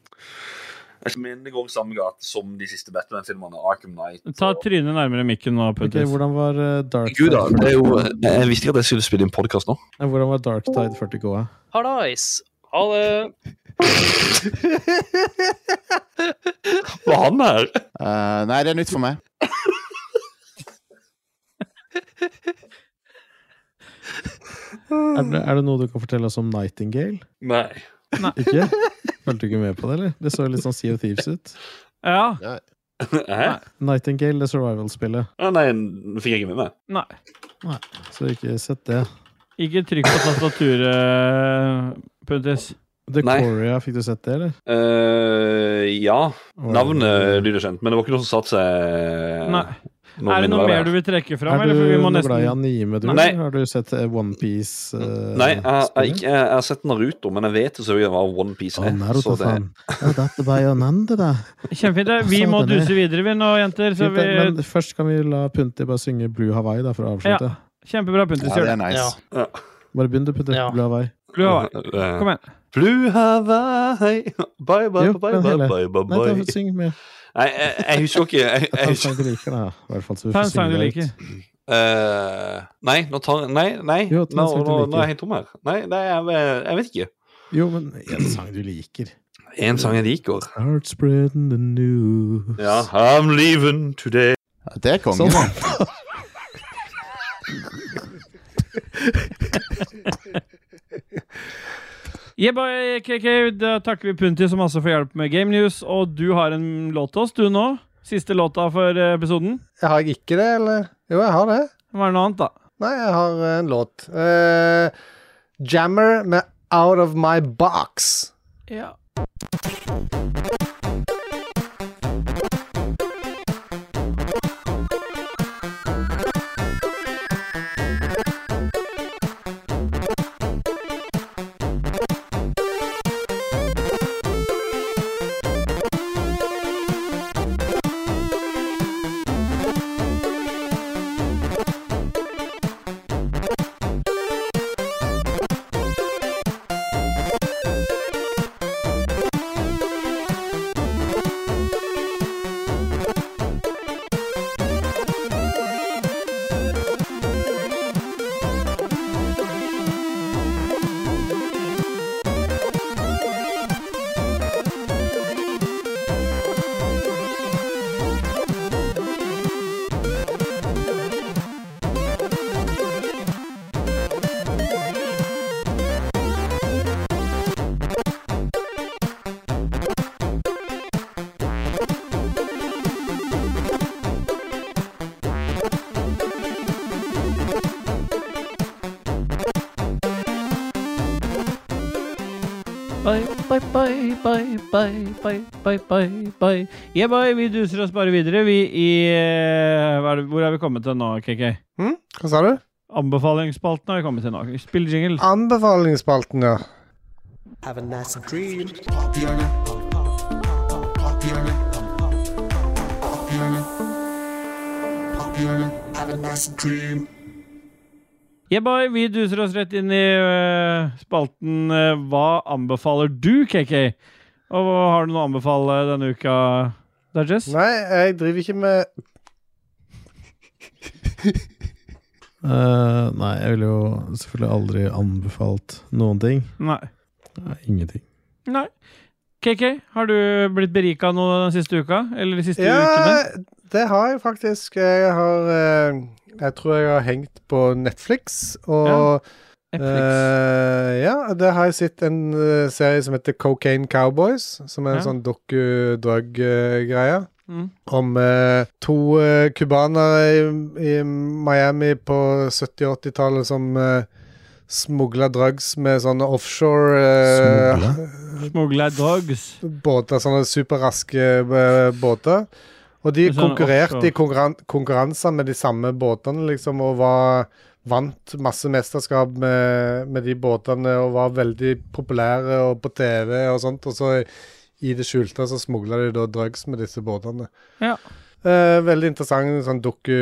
Jeg mener det går i samme gate som de siste Batman-filmene. Arkham Knight. Ta og- trynet nærmere mikken nå, Ok, Puntis. hvordan var eh, Dark Gud, da. Tide Det er jo, jeg visste ikke at jeg skulle spille inn podkast nå. Nei, Hvordan var Dark Tide 40K? eh? Hallais. Ha det. Var han her? Eh, nei, det er nytt for meg. Er det, er det noe du kan fortelle oss om Nightingale? Nei. Ikke? Fulgte du ikke med på det, eller? Det så litt sånn Sea of Thieves ut. Ja. Hæ? Nightingale, det survival-spillet. Å, Nei, den fikk jeg ikke med meg. Nei. Så ikke sett det. Ikke trykk på tastaturet, Puntis. Decoria, fikk du sett det, eller? Eh, ja. Navnet lyder kjent, men det var ikke noe som satte seg eh, Nei. Er det noe mer du vil trekke fram? er eller? du For vi må noe nesten... glad i anime, du? Nei. eller? Har du sett eh, Onepiece? Uh, Nei, jeg, jeg, jeg, jeg har sett Naruto, men jeg vet jo selvfølgelig hva OnePiece er. så det, Dette var jo Nande, da. Kjempefint. det. Vi må Satan, duse videre, vi nå, jenter. Så Sånn, Fint, vi... det, Men først kan vi la Punti bare synge Blue Hawaii, da, for å avslutte. Ja. Kjempebra, Puntis. gjør det. Ja. Bare begynn, du, Punti. Blue Hawaii. Blue Hawaii. Eh, Kom igjen. Blue Hawaii Bye, bye, Jo, bye, bye, den bye, hele. bye, bye, Nei, da bye. får du synge med. Nei, jeg, jeg husker jo ikke jeg, Ta jeg, en husker- sang du liker, da. I hvert fall, så vi Ta får en sang synge du det liker. ut. Eh, Nei, nå tar Nei, nei. Jo, Nå, ta en nå, sang du nå er liker. jeg helt tom her. Nei, nei jeg, jeg vet ikke. Jo, men en sang du liker. En sang jeg liker. Start spreading the news. Ja, I'm leaving today. Det er kongen. Yeah, boy, KK, da takker vi Punti så masse for hjelp med Game News. Og du har en låt til oss, du nå? Siste låta for eh, episoden? Jeg har jeg ikke det, eller? Jo, jeg har det. Hva er det noe annet, da? Nei, jeg har eh, en låt. Eh, Jammer med Out of My Box. Ja. Bye, bye, bye, bye, bye, bye, bye, bye, bye. Yeah, bye. Vi duser oss bare videre, vi i eh, hva er det, Hvor er vi kommet til nå, KK? Hm? Hva sa du? Anbefalingsspalten har vi kommet til nå. Spill jingle. Anbefalingsspalten, ja. Have a nice dream. Have a nice dream. Yeah, boy, vi duser oss rett inn i eh, spalten eh, Hva anbefaler du, KK? Og hva har du noe å anbefale denne uka, Dajess? Nei, jeg driver ikke med Eh, nei, jeg ville jo selvfølgelig aldri anbefalt noen ting. Nei. Nei, ingenting. Nei. KK, har du blitt berika nå den siste uka? Eller de siste ukene? Ja, det har jeg faktisk. Jeg har eh, Jeg tror jeg har hengt på Netflix, og eh, ja, der har jeg sett en eh, serie som heter Cocaine Cowboys, som er en Ja. sånn doku-drug-greie. Mm. Om eh, to eh, cubanere i, i Miami på 70- og 80-tallet som eh, smugla drugs med sånne offshore eh, Smugla dogs. båter, sånne superraske eh, båter. Og de Med sånne konkurrerte offshore. i konkurran konkurranser med de samme båtene, liksom, og var Vant masse mesterskap med, med de båtene og var veldig populære og på TV og sånt. Og så i det skjulte så smugla de da drugs med disse båtene. Ja. Eh, veldig interessant sånn doku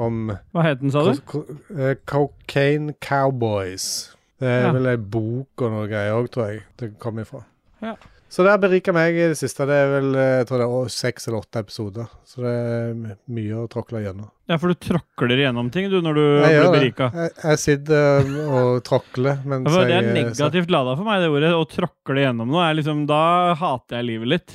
om Hva het den, sa du? ko- ko- eh, Cocaine Cowboys. Det er Ja. vel ei bok og noe greier òg, tror jeg det kom ifra. Ja. Så det har berika meg i det siste. Det er vel eh, jeg tror det er å- seks eller åtte episoder. Så det er m- mye å tråkle gjennom. Ja, for du tråkler igjennom ting, du, når du Jeg blir gjør det. berika. Jeg, jeg sitter eh, og tråkler Ja, mens for Det er jeg eh, negativt lada for meg, det ordet. Å tråkle gjennom noe. Er liksom, da hater jeg livet litt.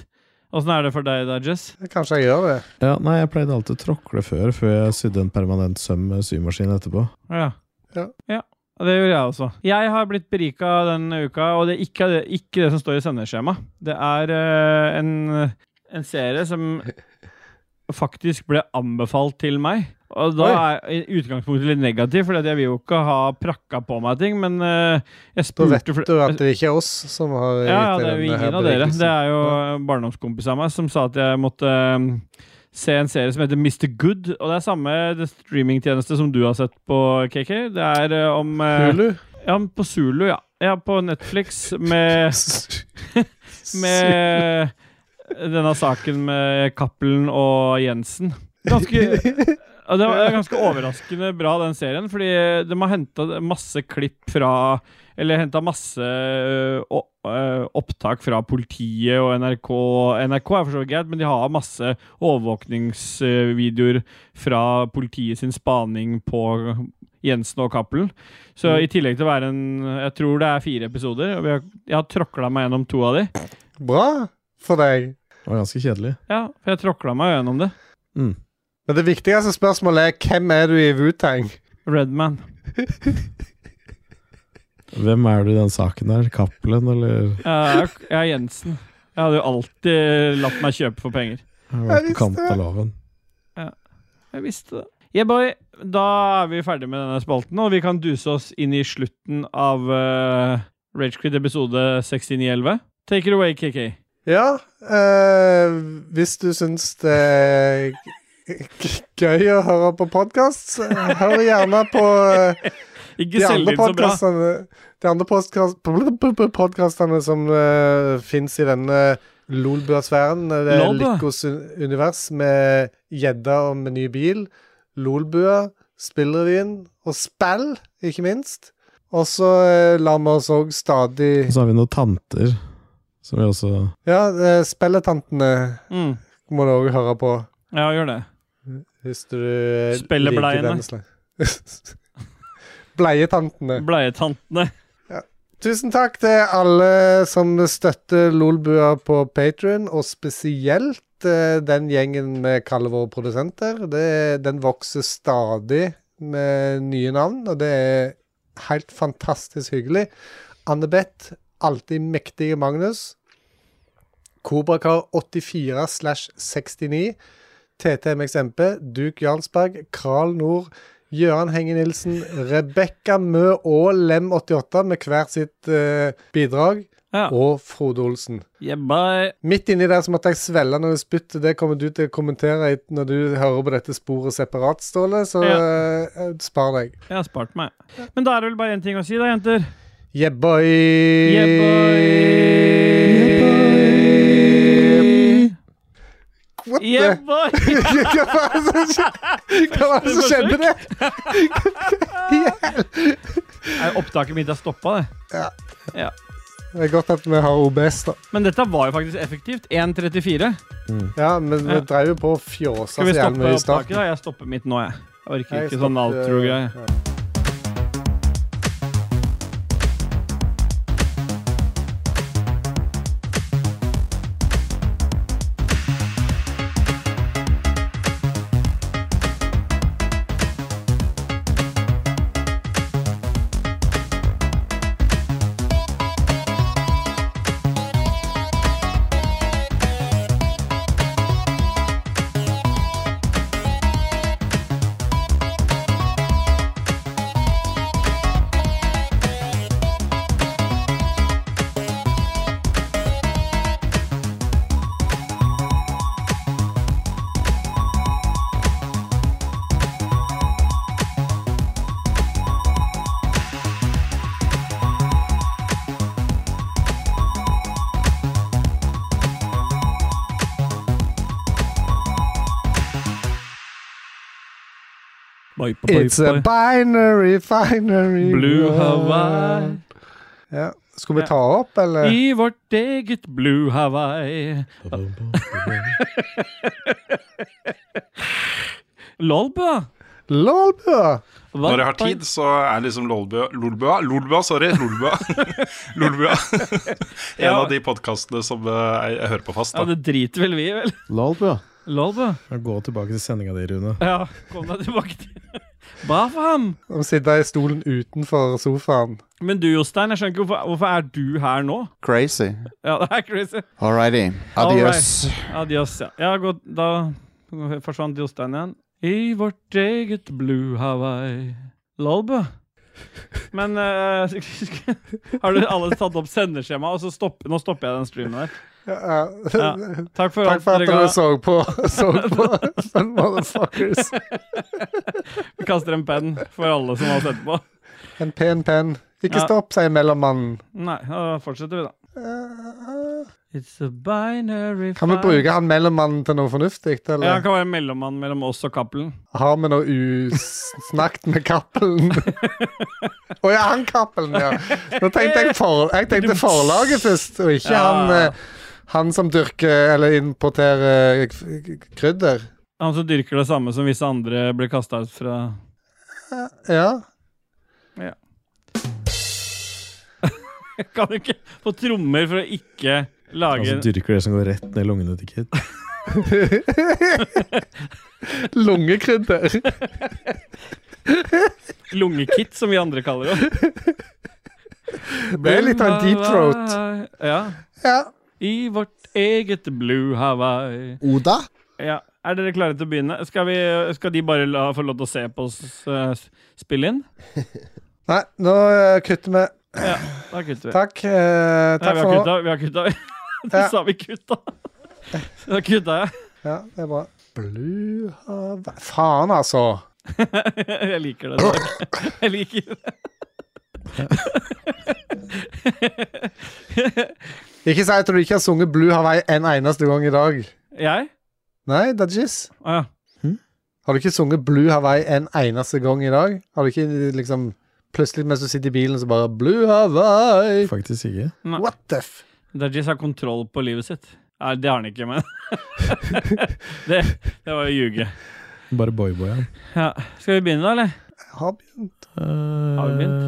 Åssen er det for deg, Dajess? snakker. Kanskje jeg gjør det. Ja, nei, jeg pleide alltid å tråkle før, før jeg sydde en permanent søm med symaskin etterpå. Ja. Ja. ja. Det gjorde jeg også. Jeg har blitt berika denne uka, og det er ikke det, ikke det som står i sendeskjemaet. Det er eh, en, en serie som faktisk ble anbefalt til meg. Og da er i utgangspunktet litt negativ, for jeg vil jo ikke ha prakka på meg ting, men eh, jeg Da spurte vet fl- du at det ikke er oss som har ja, ja, gitt det er jo deg denne her ingen av dere. berikelsen. Det er jo barndomskompis av meg som sa at jeg måtte um, se en serie som heter Mr. Good. Og det er samme streamingtjeneste som du har sett på, KK. Det er uh, om uh, Hulu? Ja, om- på Zulu, ja. Ja, på Netflix med Med denne saken med Cappelen og Jensen. Ganske ja, Det var ganske overraskende bra, den serien. Fordi de har henta masse klipp fra Eller henta masse ø, o- ø, opptak fra politiet og NRK. NRK er for så vidt greit, men de har masse overvåkningsvideoer fra politiet sin spaning på Jensen og Cappelen. Så i tillegg til å være en Jeg tror det er fire episoder. Og vi har, jeg har tråkla meg gjennom to av de. Bra for deg. Det var ganske kjedelig. Ja, for jeg tråkla meg gjennom det. Men det viktigste spørsmålet er hvem er du i Wu-Tang? Redman. Hvem er du i den saken der? Cappelen, eller? Jeg er- jeg er Jensen. Jeg hadde jo alltid latt meg kjøpe for penger. Jeg var på kant av loven. Ja, jeg visste det. Yeah, boy. Da er vi ferdig med denne spalten, og vi kan duse oss inn i slutten av uh, Ragequid episode 6911. Take it away, KK. Ja, eh, hvis du syns det er g- g- gøy å høre på podkast, hør gjerne på eh, Ikke selg inn så bra. podcastene- De andre podkast- podkastene som uh, fins i denne Lolbua-sfæren. Det er Lolbua? Lykkos un- univers med gjedda og med ny bil. Lolbua, Spillrevyen og spill, ikke minst. Og så eh, lar vi oss òg stadig Og så har vi noen tanter som vi også Ja, eh, Spelletantene Mm. må du òg høre på. Ja, gjør det. Hvis du eh, Spellebleiene. liker den slags. Bleietantene. Bleietantene. Tusen takk til alle som støtter Lolbua på Patron, og spesielt eh, den gjengen vi kaller våre produsenter. Det, den vokser stadig med nye navn, og det er helt fantastisk hyggelig. Anne-Beth, alltid mektige Magnus. Kobrakar 84 slash 69. TTMXMP, Duke Jarlsberg, Kral Nord, Gjøran Henge Nilsen, Rebekka Mø og Lem88 med hvert sitt eh, bidrag. Og Frode Olsen. Midt inni der så måtte jeg svelle noe spytt. Det kommer du til å kommentere i- når du hører på dette sporet separat, Ståle, så eh, spar deg. Jeg har spart meg. Men da er det vel bare én ting å si, da, jenter. Yeah, boy! What Yeah, the- boy! Hva var det som skjedde? Hva var det som skjedde der? Nei, Opptaket mitt har stoppa, det. Ja. ja. Det er godt at vi har OBS, da. Men dette var jo faktisk effektivt. 1.34. Ja, men vi Ja. drev jo på og fjåsa Skal vi så jævlig stoppe mye i opptaket, starten. eh, da? Jeg stopper mitt nå, jeg. Jeg orker Jeg ikke sånn stopper- outro-greie. It's a binary finery Blue world. Hawaii. Ja. Skulle vi ta opp, eller? I vårt eget Blue Hawaii. Lolbua. Lolbua. Når jeg har tid, så er liksom Lolbua Lolbua, Lolbua sorry. Lolbua. Lolbua. En Ja. av de podkastene som eh, jeg, jeg hører på fast. Ja, Da. det driter vel vi i, vel? Lolbua. Lolbua. Gå tilbake til sendinga di, Rune. Ja, kom deg tilbake til Bra for ham. Å sitte i stolen utenfor sofaen. Men du, Jostein, jeg skjønner ikke hvorfor, hvorfor er du her nå? Crazy. Ja, det er crazy. All righty. Adios. Alright. Adios, ja. ja godt, da forsvant Jostein igjen. I vårt eget blue Hawaii. Lolbø. Men eh, har du alle tatt opp sendeskjema, og så stopp, nå stopper jeg den streamen der. Ja, Ja. Takk for alt Takk for at dere ga. dere så på, så på Fun Motherfuckers. Vi kaster en penn for alle som har sett på. En pen penn. Ikke Ja. stopp, sier mellommannen. Eh, Nei, da fortsetter vi, da. It's a binary Kan vi bruke han mellommannen til noe fornuftig? eller? Ja, han Eller? kan være mellommann mellom oss og Cappelen. Har vi noe usnakket med Cappelen? Å ja, han Cappelen, ja. Nå tenkte jeg, for, jeg tenkte forlaget først, og ikke Ja. han, eh, han som dyrker eller importerer eh, f- krydder. Han som dyrker det samme som visse andre blir kasta ut fra Ja. Ja. Kan du ikke få trommer for å ikke Han lage som Altså, dyrker det som går rett ned lungene til Kid. Lungekrydder. lungekit, som vi andre kaller det? Det er litt av en deep throat. Ja. ja. I vårt eget blue Hawaii. Oda? Ja. Er dere klare til å begynne? Skal, vi, skal de bare la, få lov til å se på oss eh, s- spille inn? Nei, nå eh, kutter vi. Ja, da kutter vi. Takk. eh, Nei, takk vi har for nå. kutta. Vi har kutta. Det Ja. sa vi kutta. Da kutta jeg. Ja, det er bra. Blue Hawaii Faen, altså. Jeg liker det. Dag. Jeg liker det. Ikke si at du ikke har sunget Blue Hawaii en eneste gang i dag. Jeg? Nei, Dajis. Å ja. Har du ikke sunget Blue Hawaii en eneste gang i dag? Har du ikke liksom Plutselig mens du sitter i bilen, så bare Blue Hawaii. Faktisk ikke. What the f... Dajis har kontroll på livet sitt. Nei, det har han ikke, men det, det var å ljuge. Bare boyboy, han. Ja. Skal vi begynne, da, eller? Har begynt. Har vi Eh, begynt?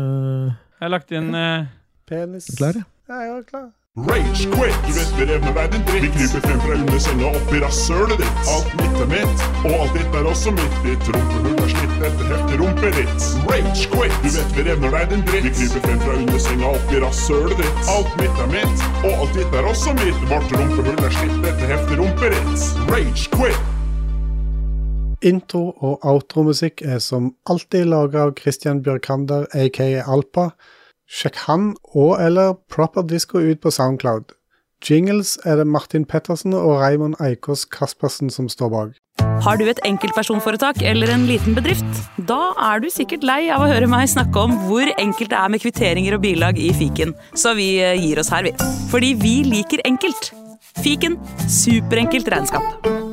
Jeg har lagt inn eh, Penis. Klar, ja. Jeg er klar. Rage quit! Du vet vi revner verden dritt. Vi kryper frem fra under senga opp i rasshølet ditt. Alt mitt er mitt, og alt ditt er også mitt. Ditt rumpehull er slitt etter heftig rumperitt. Rage quit! Du vet vi revner verden dritt. Vi kryper frem fra under senga opp i rasshølet ditt. Alt mitt er mitt, og alt ditt er også mitt. Vårt rumpehull er slitt etter heftig rumperitt. Rage quit! Intro- og outromusikk er som alltid laga av Christian Bjørkander, aka Alpa. Sjekk han og eller Proper Disco ut på Soundcloud. Jingles er det Martin Pettersen og Raymond Eikås Kaspersen som står bak. Har du et enkeltpersonforetak eller en liten bedrift? Da er du sikkert lei av å høre meg snakke om hvor enkelt det er med kvitteringer og bilag i fiken, så vi eh, gir oss her, vi. Fordi vi liker enkelt. Fiken superenkelt regnskap.